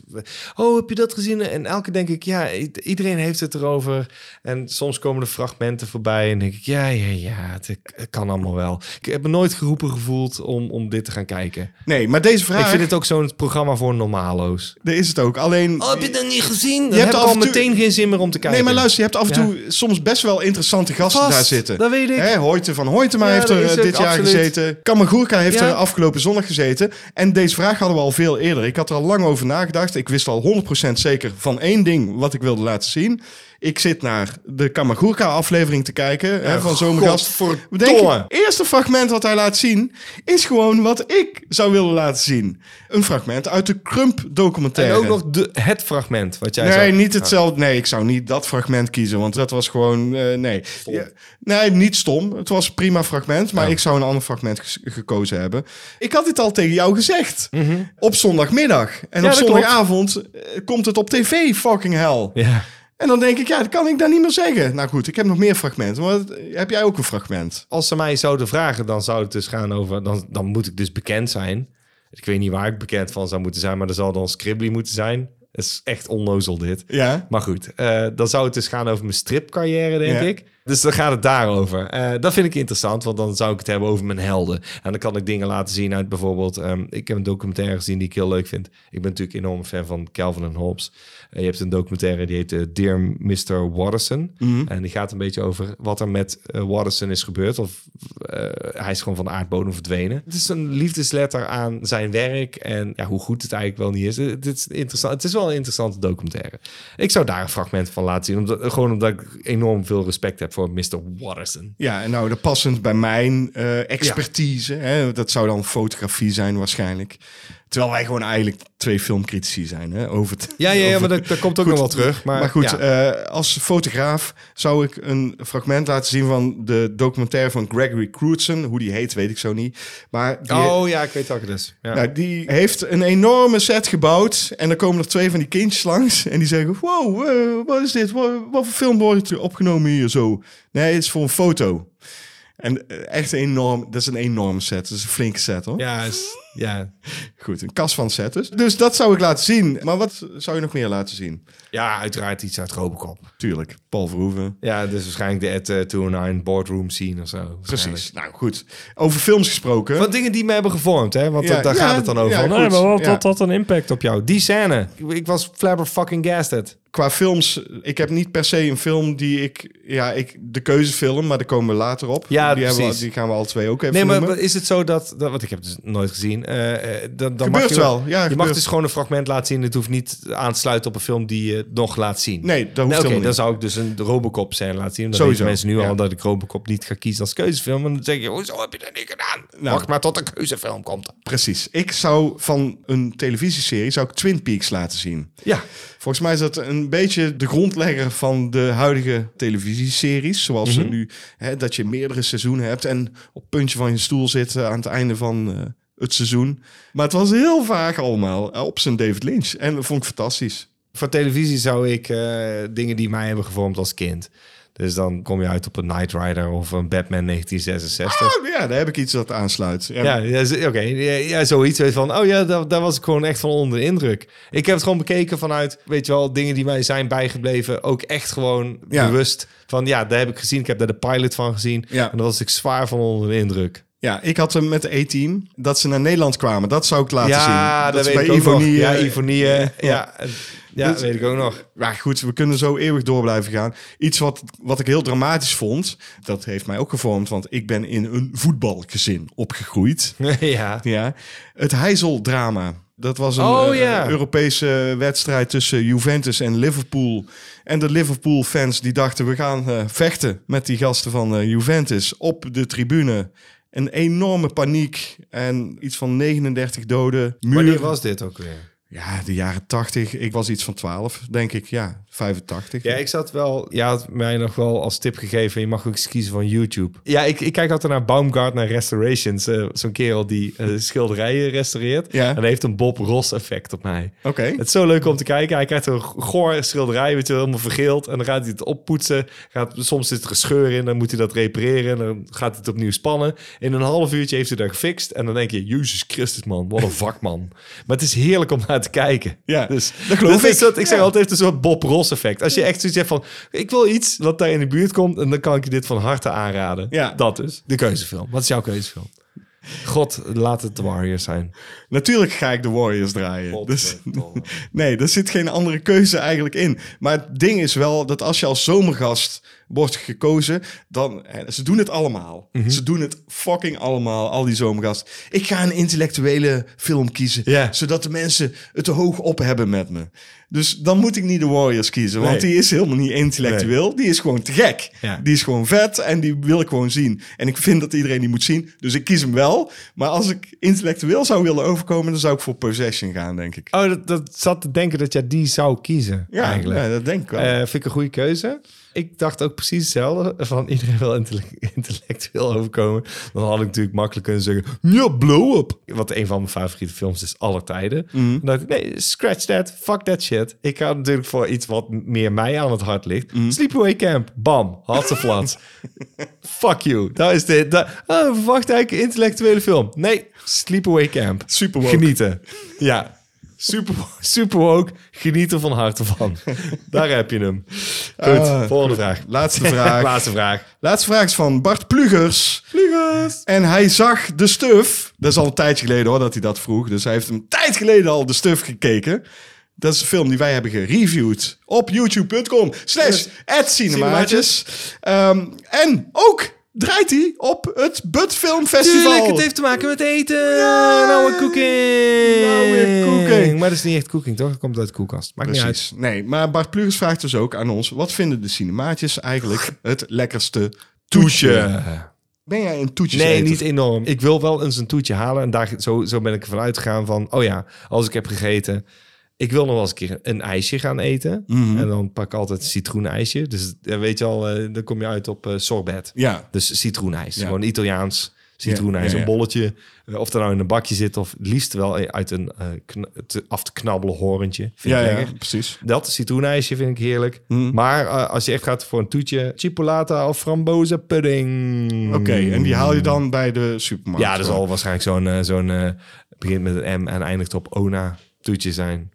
Speaker 1: oh, heb je dat gezien? En elke denk ik, ja, i- iedereen heeft het erover. En soms komen er fragmenten voorbij en denk ik, ja, ja, ja, het, het kan allemaal wel. Ik heb me nooit geroepen gevoeld om, om dit te gaan kijken.
Speaker 2: Nee, maar deze vraag,
Speaker 1: Ik vind het ook zo'n programma voor normalo's.
Speaker 2: daar is het ook. Alleen,
Speaker 1: Oh, heb je dat niet gezien? Dan
Speaker 2: hebt
Speaker 1: heb ik
Speaker 2: af
Speaker 1: al
Speaker 2: en toe-
Speaker 1: meteen geen zin meer om te kijken.
Speaker 2: nee, maar luister, je hebt af en
Speaker 1: Ja.
Speaker 2: toe soms best wel interessante gasten
Speaker 1: Vast,
Speaker 2: daar zitten.
Speaker 1: dat weet ik.
Speaker 2: Hè, Hoyte van Hoytema
Speaker 1: Ja,
Speaker 2: heeft
Speaker 1: dat
Speaker 2: er
Speaker 1: is
Speaker 2: eh,
Speaker 1: ook
Speaker 2: dit jaar
Speaker 1: absoluut.
Speaker 2: gezeten. Kamagurka heeft
Speaker 1: Ja.
Speaker 2: er afgelopen zondag gezeten. En deze vraag hadden we al veel eerder. Ik had er al lang over nagedacht. Ik wist al 100% zeker van één ding wat ik wilde laten zien. Ik zit naar de Kamagurka-aflevering te kijken hè, van Zomergast. We denken,
Speaker 1: Godverdomme.
Speaker 2: het eerste fragment wat hij laat zien... is gewoon wat ik zou willen laten zien. Een fragment uit de Crump-documentaire.
Speaker 1: En ook nog de, het fragment wat jij
Speaker 2: Nee,
Speaker 1: zei.
Speaker 2: niet hetzelfde. Nee, ik zou niet dat fragment kiezen, want dat was gewoon. eh, nee. Ja, nee, niet stom. Het was een prima fragment, maar ik zou een ander fragment ges- gekozen hebben. Ik had dit al tegen jou gezegd. Op zondagmiddag. En op
Speaker 1: Mhm. dat klopt.
Speaker 2: zondagavond eh, komt het op tv, fucking hell.
Speaker 1: Ja.
Speaker 2: En dan denk ik, ja, dat kan ik daar niet meer zeggen. Nou goed, ik heb nog meer fragmenten. Maar wat- heb jij ook een fragment?
Speaker 1: Als ze mij zouden vragen, dan zou het dus gaan over... Dan, dan moet ik dus bekend zijn. Ik weet niet waar ik bekend van zou moeten zijn, maar er zal dan Scribbly moeten zijn. Dat is echt onnozel dit.
Speaker 2: Ja.
Speaker 1: Maar goed, eh, dan zou het dus gaan over mijn stripcarrière, denk
Speaker 2: Ja.
Speaker 1: ik. Dus dan gaat het daarover. Eh, dat vind ik interessant, want dan zou ik het hebben over mijn helden. En dan kan ik dingen laten zien uit bijvoorbeeld... ehm, ik heb een documentaire gezien die ik heel leuk vind. Ik ben natuurlijk enorm fan van Calvin en Hobbes. Eh, je hebt een documentaire die heet eh, Dear Mr. Watterson. En die gaat een beetje over wat er met eh, Watterson is gebeurd. Of eh, hij is gewoon van de aardbodem verdwenen. Het is een liefdesletter aan zijn werk en ja, hoe goed het eigenlijk wel niet is. Het, het is interessant. Het is wel een interessante documentaire. Ik zou daar een fragment van laten zien. Omdat, gewoon omdat ik enorm veel respect heb voor Mr. Watterson.
Speaker 2: Ja, en nou, dat passend bij mijn eh, expertise. Hè, dat zou dan fotografie zijn waarschijnlijk. Terwijl wij gewoon eigenlijk twee filmcritici zijn. Hè, over het,
Speaker 1: Ja, ja, ja,
Speaker 2: over-
Speaker 1: maar dat, dat komt ook
Speaker 2: Goed,
Speaker 1: nog wel terug. Maar,
Speaker 2: Maar, goed,
Speaker 1: ja.
Speaker 2: eh, als fotograaf zou ik een fragment laten zien van de documentaire van Gregory Crewdson. Hoe die heet, weet ik zo niet. Maar die,
Speaker 1: oh ja, ik weet wat het is. Ja.
Speaker 2: nou, die heeft een enorme set gebouwd. En dan komen er twee van die kindjes langs. En die zeggen, wow, eh, wat is dit? Wat, wat voor film wordt er opgenomen hier zo? Nee, het is voor een foto. En eh, echt enorm, dat is een enorme set. Dat is een flinke set, hoor.
Speaker 1: ja, is- ja.
Speaker 2: Goed, een kas van set dus. Dus dat zou ik laten zien. Maar wat zou je nog meer laten zien?
Speaker 1: ja, uiteraard iets uit Robocop.
Speaker 2: Tuurlijk, Paul Verhoeven.
Speaker 1: Ja, dus waarschijnlijk de Ed eh, 209 boardroom scene of zo. waarschijnlijk.
Speaker 2: Precies. Nou goed, over films gesproken.
Speaker 1: Van dingen die me hebben gevormd, hè? Want
Speaker 2: Ja,
Speaker 1: dat- daar
Speaker 2: ja,
Speaker 1: gaat het dan over.
Speaker 2: ja,
Speaker 1: Van,
Speaker 2: goed,
Speaker 1: nee, maar wat
Speaker 2: ja.
Speaker 1: had dat een impact op jou? Die scène. Ik, ik was flabber fucking gasted.
Speaker 2: Qua films, ik heb niet per se een film die ik... Ja, ik, de keuzefilm, maar daar komen we later op.
Speaker 1: Ja,
Speaker 2: die, hebben we,
Speaker 1: precies.
Speaker 2: die gaan we al twee ook even
Speaker 1: Nee, maar
Speaker 2: noemen.
Speaker 1: is het zo dat, dat want ik heb het dus nooit gezien. eh, eh, dan, dan mag
Speaker 2: Gebeurt
Speaker 1: je
Speaker 2: wel, ja,
Speaker 1: je mag
Speaker 2: gebeurt.
Speaker 1: dus gewoon een fragment laten zien. Het hoeft niet aan te sluiten op een film die je nog laat zien. Nou,
Speaker 2: Nee, dat hoeft
Speaker 1: Oké,
Speaker 2: helemaal
Speaker 1: dan
Speaker 2: niet.
Speaker 1: zou ik dus een Robocop scène laten zien. Dan
Speaker 2: Sowieso,
Speaker 1: weten mensen nu
Speaker 2: ja.
Speaker 1: al dat ik Robocop niet ga kiezen als keuzefilm. En dan zeg je, hoezo heb je dat niet gedaan?
Speaker 2: Nou.
Speaker 1: Wacht maar tot een keuzefilm komt.
Speaker 2: Precies. Ik zou van een televisieserie zou ik Twin Peaks laten zien.
Speaker 1: Ja,
Speaker 2: Volgens mij is dat een beetje de grondlegger van de huidige televisieseries. Zoals
Speaker 1: Mhm.
Speaker 2: ze nu, hè, dat je meerdere seizoenen hebt en op het puntje van je stoel zit eh, aan het einde van eh, het seizoen. Maar het was heel vaag allemaal eh, op zijn David Lynch. En dat vond ik fantastisch.
Speaker 1: voor televisie zou ik eh, dingen die mij hebben gevormd als kind. Dus dan kom je uit op een Knight Rider of een
Speaker 2: Ah!
Speaker 1: Batman 1966.
Speaker 2: Oh, ja, daar heb ik iets dat aansluit. Ja,
Speaker 1: Ja, ja z- oké. Ja, ja, zoiets weet van, oh ja, daar, daar was ik gewoon echt van onder de indruk. Ik heb het gewoon bekeken vanuit, weet je wel, dingen die mij zijn bijgebleven. Ook echt gewoon
Speaker 2: Ja.
Speaker 1: bewust van, ja, daar heb ik gezien. Ik heb daar de pilot van gezien.
Speaker 2: Ja.
Speaker 1: En daar was ik zwaar van onder de indruk.
Speaker 2: ja, ik had hem met de E-team dat ze naar Nederland kwamen. Dat zou ik laten zien.
Speaker 1: ja, dat
Speaker 2: is
Speaker 1: weet ik
Speaker 2: bij
Speaker 1: ook nog.
Speaker 2: Ivonie.
Speaker 1: Ja,
Speaker 2: eh,
Speaker 1: Ivonie. eh, Ja, en- ja,
Speaker 2: Dus-
Speaker 1: weet ik ook nog.
Speaker 2: Maar goed, we kunnen zo eeuwig door blijven gaan. Iets wat, wat ik heel dramatisch vond, dat heeft mij ook gevormd, want ik ben in een voetbalgezin opgegroeid.
Speaker 1: ja.
Speaker 2: Ja. Het heizeldrama. Dat was een
Speaker 1: Oh,
Speaker 2: eh,
Speaker 1: ja.
Speaker 2: Europese wedstrijd tussen Juventus en Liverpool. En de Liverpool-fans die dachten, we gaan eh, vechten met die gasten van eh, Juventus op de tribune. Een enorme paniek en iets van 39 doden.
Speaker 1: Wanneer
Speaker 2: Muur.
Speaker 1: was dit ook weer?
Speaker 2: Ja, de jaren 80. Ik was iets van 12, denk ik. Ja, 85.
Speaker 1: Ja, ik zat wel. Je had mij nog wel als tip gegeven. Je mag ook eens kiezen van YouTube. Ja, ik, ik kijk altijd naar Baumgartner Restorations. eh, Zo'n kerel die eh, schilderijen restaureert.
Speaker 2: Ja.
Speaker 1: En dat heeft een Bob Ross effect op mij.
Speaker 2: Oké.
Speaker 1: Het is zo leuk om te kijken. Hij krijgt een goor schilderij, weet je, wel, helemaal vergeeld. En dan gaat hij het oppoetsen. Gaat, soms zit er een scheur in, dan moet hij dat repareren. En dan gaat hij het opnieuw spannen. In een half uurtje heeft hij dat gefixt. En dan denk je, Jezus Christus man, wat een vakman. Maar het is heerlijk om naar te kijken.
Speaker 2: Ja,
Speaker 1: dus,
Speaker 2: dat geloof
Speaker 1: is
Speaker 2: ik.
Speaker 1: dat- ik zeg
Speaker 2: Ja.
Speaker 1: altijd, het heeft een soort Bob Ross effect. Als je echt zoiets hebt van, ik wil iets wat daar in de buurt komt. En dan kan ik je dit van harte aanraden.
Speaker 2: Ja.
Speaker 1: Dat dus. De keuzefilm. Wat is jouw keuzefilm? God, laat het de Warriors zijn.
Speaker 2: Natuurlijk ga ik de Warriors draaien. Dus, nee, daar zit geen andere keuze eigenlijk in. Maar het ding is wel dat als je als zomergast wordt gekozen, dan... eh, Ze doen het allemaal.
Speaker 1: Mhm.
Speaker 2: Ze doen het fucking allemaal, al die zomergasten. Ik ga een intellectuele film kiezen,
Speaker 1: Ja.
Speaker 2: zodat de mensen het te hoog op hebben met me. Dus dan moet ik niet de Warriors kiezen, want
Speaker 1: Nee.
Speaker 2: die is helemaal niet intellectueel. Die is gewoon te gek.
Speaker 1: Ja.
Speaker 2: Die is gewoon vet en die wil ik gewoon zien. En ik vind dat iedereen die moet zien, dus ik kies hem wel. Maar als ik intellectueel zou willen overkomen, dan zou ik voor Possession gaan, denk ik.
Speaker 1: Oh, dat, dat zat te denken dat jij die zou kiezen.
Speaker 2: Ja,
Speaker 1: eigenlijk.
Speaker 2: ja, dat denk ik wel.
Speaker 1: Eh, vind ik een goede keuze. Ik dacht ook precies hetzelfde. Van iedereen wil intellect- intellectueel overkomen. Dan had ik natuurlijk makkelijk kunnen zeggen... Ja, blow up. Wat een van mijn favoriete films is aller tijden. Dan dacht ik, nee, scratch that. Fuck that shit. Ik ga natuurlijk voor iets wat meer mij aan het hart ligt. Sleepaway Camp. Bam. Hatseflats. Fuck you. Dat is dit. Dat, oh, wacht, eigenlijk een intellectuele film. Nee, Sleepaway Camp.
Speaker 2: Super woke.
Speaker 1: Genieten. Ja. Super, super woke. Geniet er van harte van. Daar heb je hem. Goed,
Speaker 2: Ah,
Speaker 1: volgende vraag.
Speaker 2: Laatste vraag.
Speaker 1: Laatste vraag.
Speaker 2: Laatste vraag is van Bart Plugers. Plugers. En hij zag de stuf. Dat is al een tijdje geleden hoor dat hij dat vroeg. Dus hij heeft een tijd geleden al de stuf gekeken. Dat is een film die wij hebben gereviewd op youtube.com slash @cinemaatjes. Ehm, en ook draait hij op het Bud Film Festival.
Speaker 1: te maken met eten. Nou weer cooking.
Speaker 2: Nou weer cooking.
Speaker 1: Maar dat is niet echt cooking, toch? Dat komt uit de koelkast. Maakt niet uit.
Speaker 2: Precies. Nee, maar Bart Plugers vraagt dus ook aan ons... wat vinden de cinemaatjes eigenlijk het lekkerste toetje? Ben jij een toetje?
Speaker 1: Nee, niet enorm. Ik wil wel eens een toetje halen. En daar, zo, zo ben ik ervan uitgegaan van... oh ja, als ik heb gegeten... ik wil nog wel eens een keer een ijsje gaan eten.
Speaker 2: Mhm.
Speaker 1: En dan pak ik altijd een citroenijsje. Dus eh, weet je al, eh, dan kom je uit op eh, sorbet.
Speaker 2: Ja,
Speaker 1: Dus citroenijs.
Speaker 2: Ja.
Speaker 1: Gewoon Italiaans citroenijs.
Speaker 2: Ja, ja, ja.
Speaker 1: Een bolletje. Eh, Of dat nou in een bakje zit of het liefst wel uit een eh, kn- te- af te knabbelen horentje. Vind
Speaker 2: ja, Mhm.
Speaker 1: ik
Speaker 2: ja,
Speaker 1: lekker.
Speaker 2: precies.
Speaker 1: Dat citroenijsje vind ik heerlijk. Maar eh, als je echt gaat voor een toetje, chipolata of frambozen pudding.
Speaker 2: Oké, en die haal je dan bij de supermarkt?
Speaker 1: Hmm. Ja, dat zal waarschijnlijk zo'n... eh, zo'n eh, begint met een M en eindigt op Ona toetje zijn.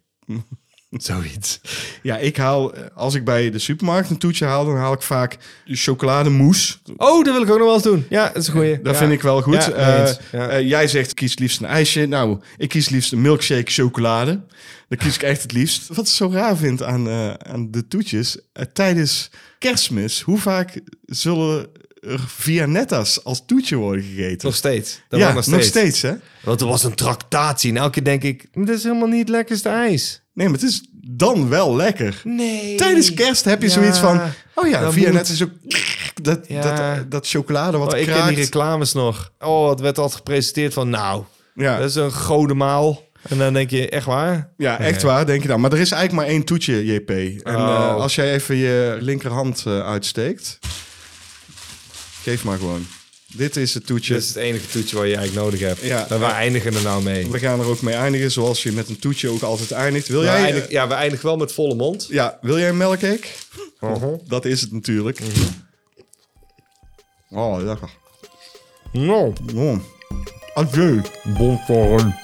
Speaker 1: Zoiets.
Speaker 2: Ja, ik haal, eh, als ik bij de supermarkt een toetje haal, dan haal ik vaak chocolademousse.
Speaker 1: Oh, dat wil ik ook nog wel eens doen. Ja, dat is een goeie.
Speaker 2: Dat
Speaker 1: Ja.
Speaker 2: vind ik wel goed.
Speaker 1: Ja, mee eens.
Speaker 2: Eh,
Speaker 1: Ja.
Speaker 2: eh, jij zegt, kies liefst een ijsje. Nou, ik kies liefst een milkshake chocolade. Dat kies ik echt het liefst. Wat ik zo raar vind aan, eh, aan de toetjes, eh, tijdens kerstmis, hoe vaak zullen er vianettas als toetje worden gegeten?
Speaker 1: nog steeds. Dat
Speaker 2: ja,
Speaker 1: mag nog steeds.
Speaker 2: hè?
Speaker 1: Want er was een tractatie. En elke keer denk ik, "Hmm, dit is helemaal niet het lekkerste ijs.
Speaker 2: Nee, maar het is dan wel
Speaker 1: Hmm.
Speaker 2: lekker.
Speaker 1: Nee.
Speaker 2: Tijdens kerst heb je
Speaker 1: Ja.
Speaker 2: zoiets van... Oh ja,
Speaker 1: Dat
Speaker 2: via
Speaker 1: moet.
Speaker 2: net is ook... Dat,
Speaker 1: Ja.
Speaker 2: dat, dat chocolade wat
Speaker 1: Oh, ik ken die
Speaker 2: kraakt.
Speaker 1: reclames nog. Oh, het werd altijd gepresenteerd van, nou,
Speaker 2: Ja.
Speaker 1: dat is een godemaal. En dan denk je, echt waar?
Speaker 2: ja, echt waar, denk je dan. Maar er is eigenlijk maar één toetje, JP. En eh,
Speaker 1: Oh.
Speaker 2: als jij even je linkerhand eh, uitsteekt... Geef maar gewoon. Dit is het toetje.
Speaker 1: Dit is het enige toetje wat je eigenlijk nodig hebt.
Speaker 2: Ja.
Speaker 1: En we eindigen er nou mee.
Speaker 2: We gaan er ook mee eindigen, zoals je met een toetje ook altijd eindigt. Wil
Speaker 1: We
Speaker 2: jij...
Speaker 1: eindigen, ja, we eindigen wel met volle mond. Mhm.
Speaker 2: Ja, wil jij een melkcake? Dat is het natuurlijk. Oh, lekker.
Speaker 1: Nou,
Speaker 2: Mm. Adieu.
Speaker 1: bonkoren.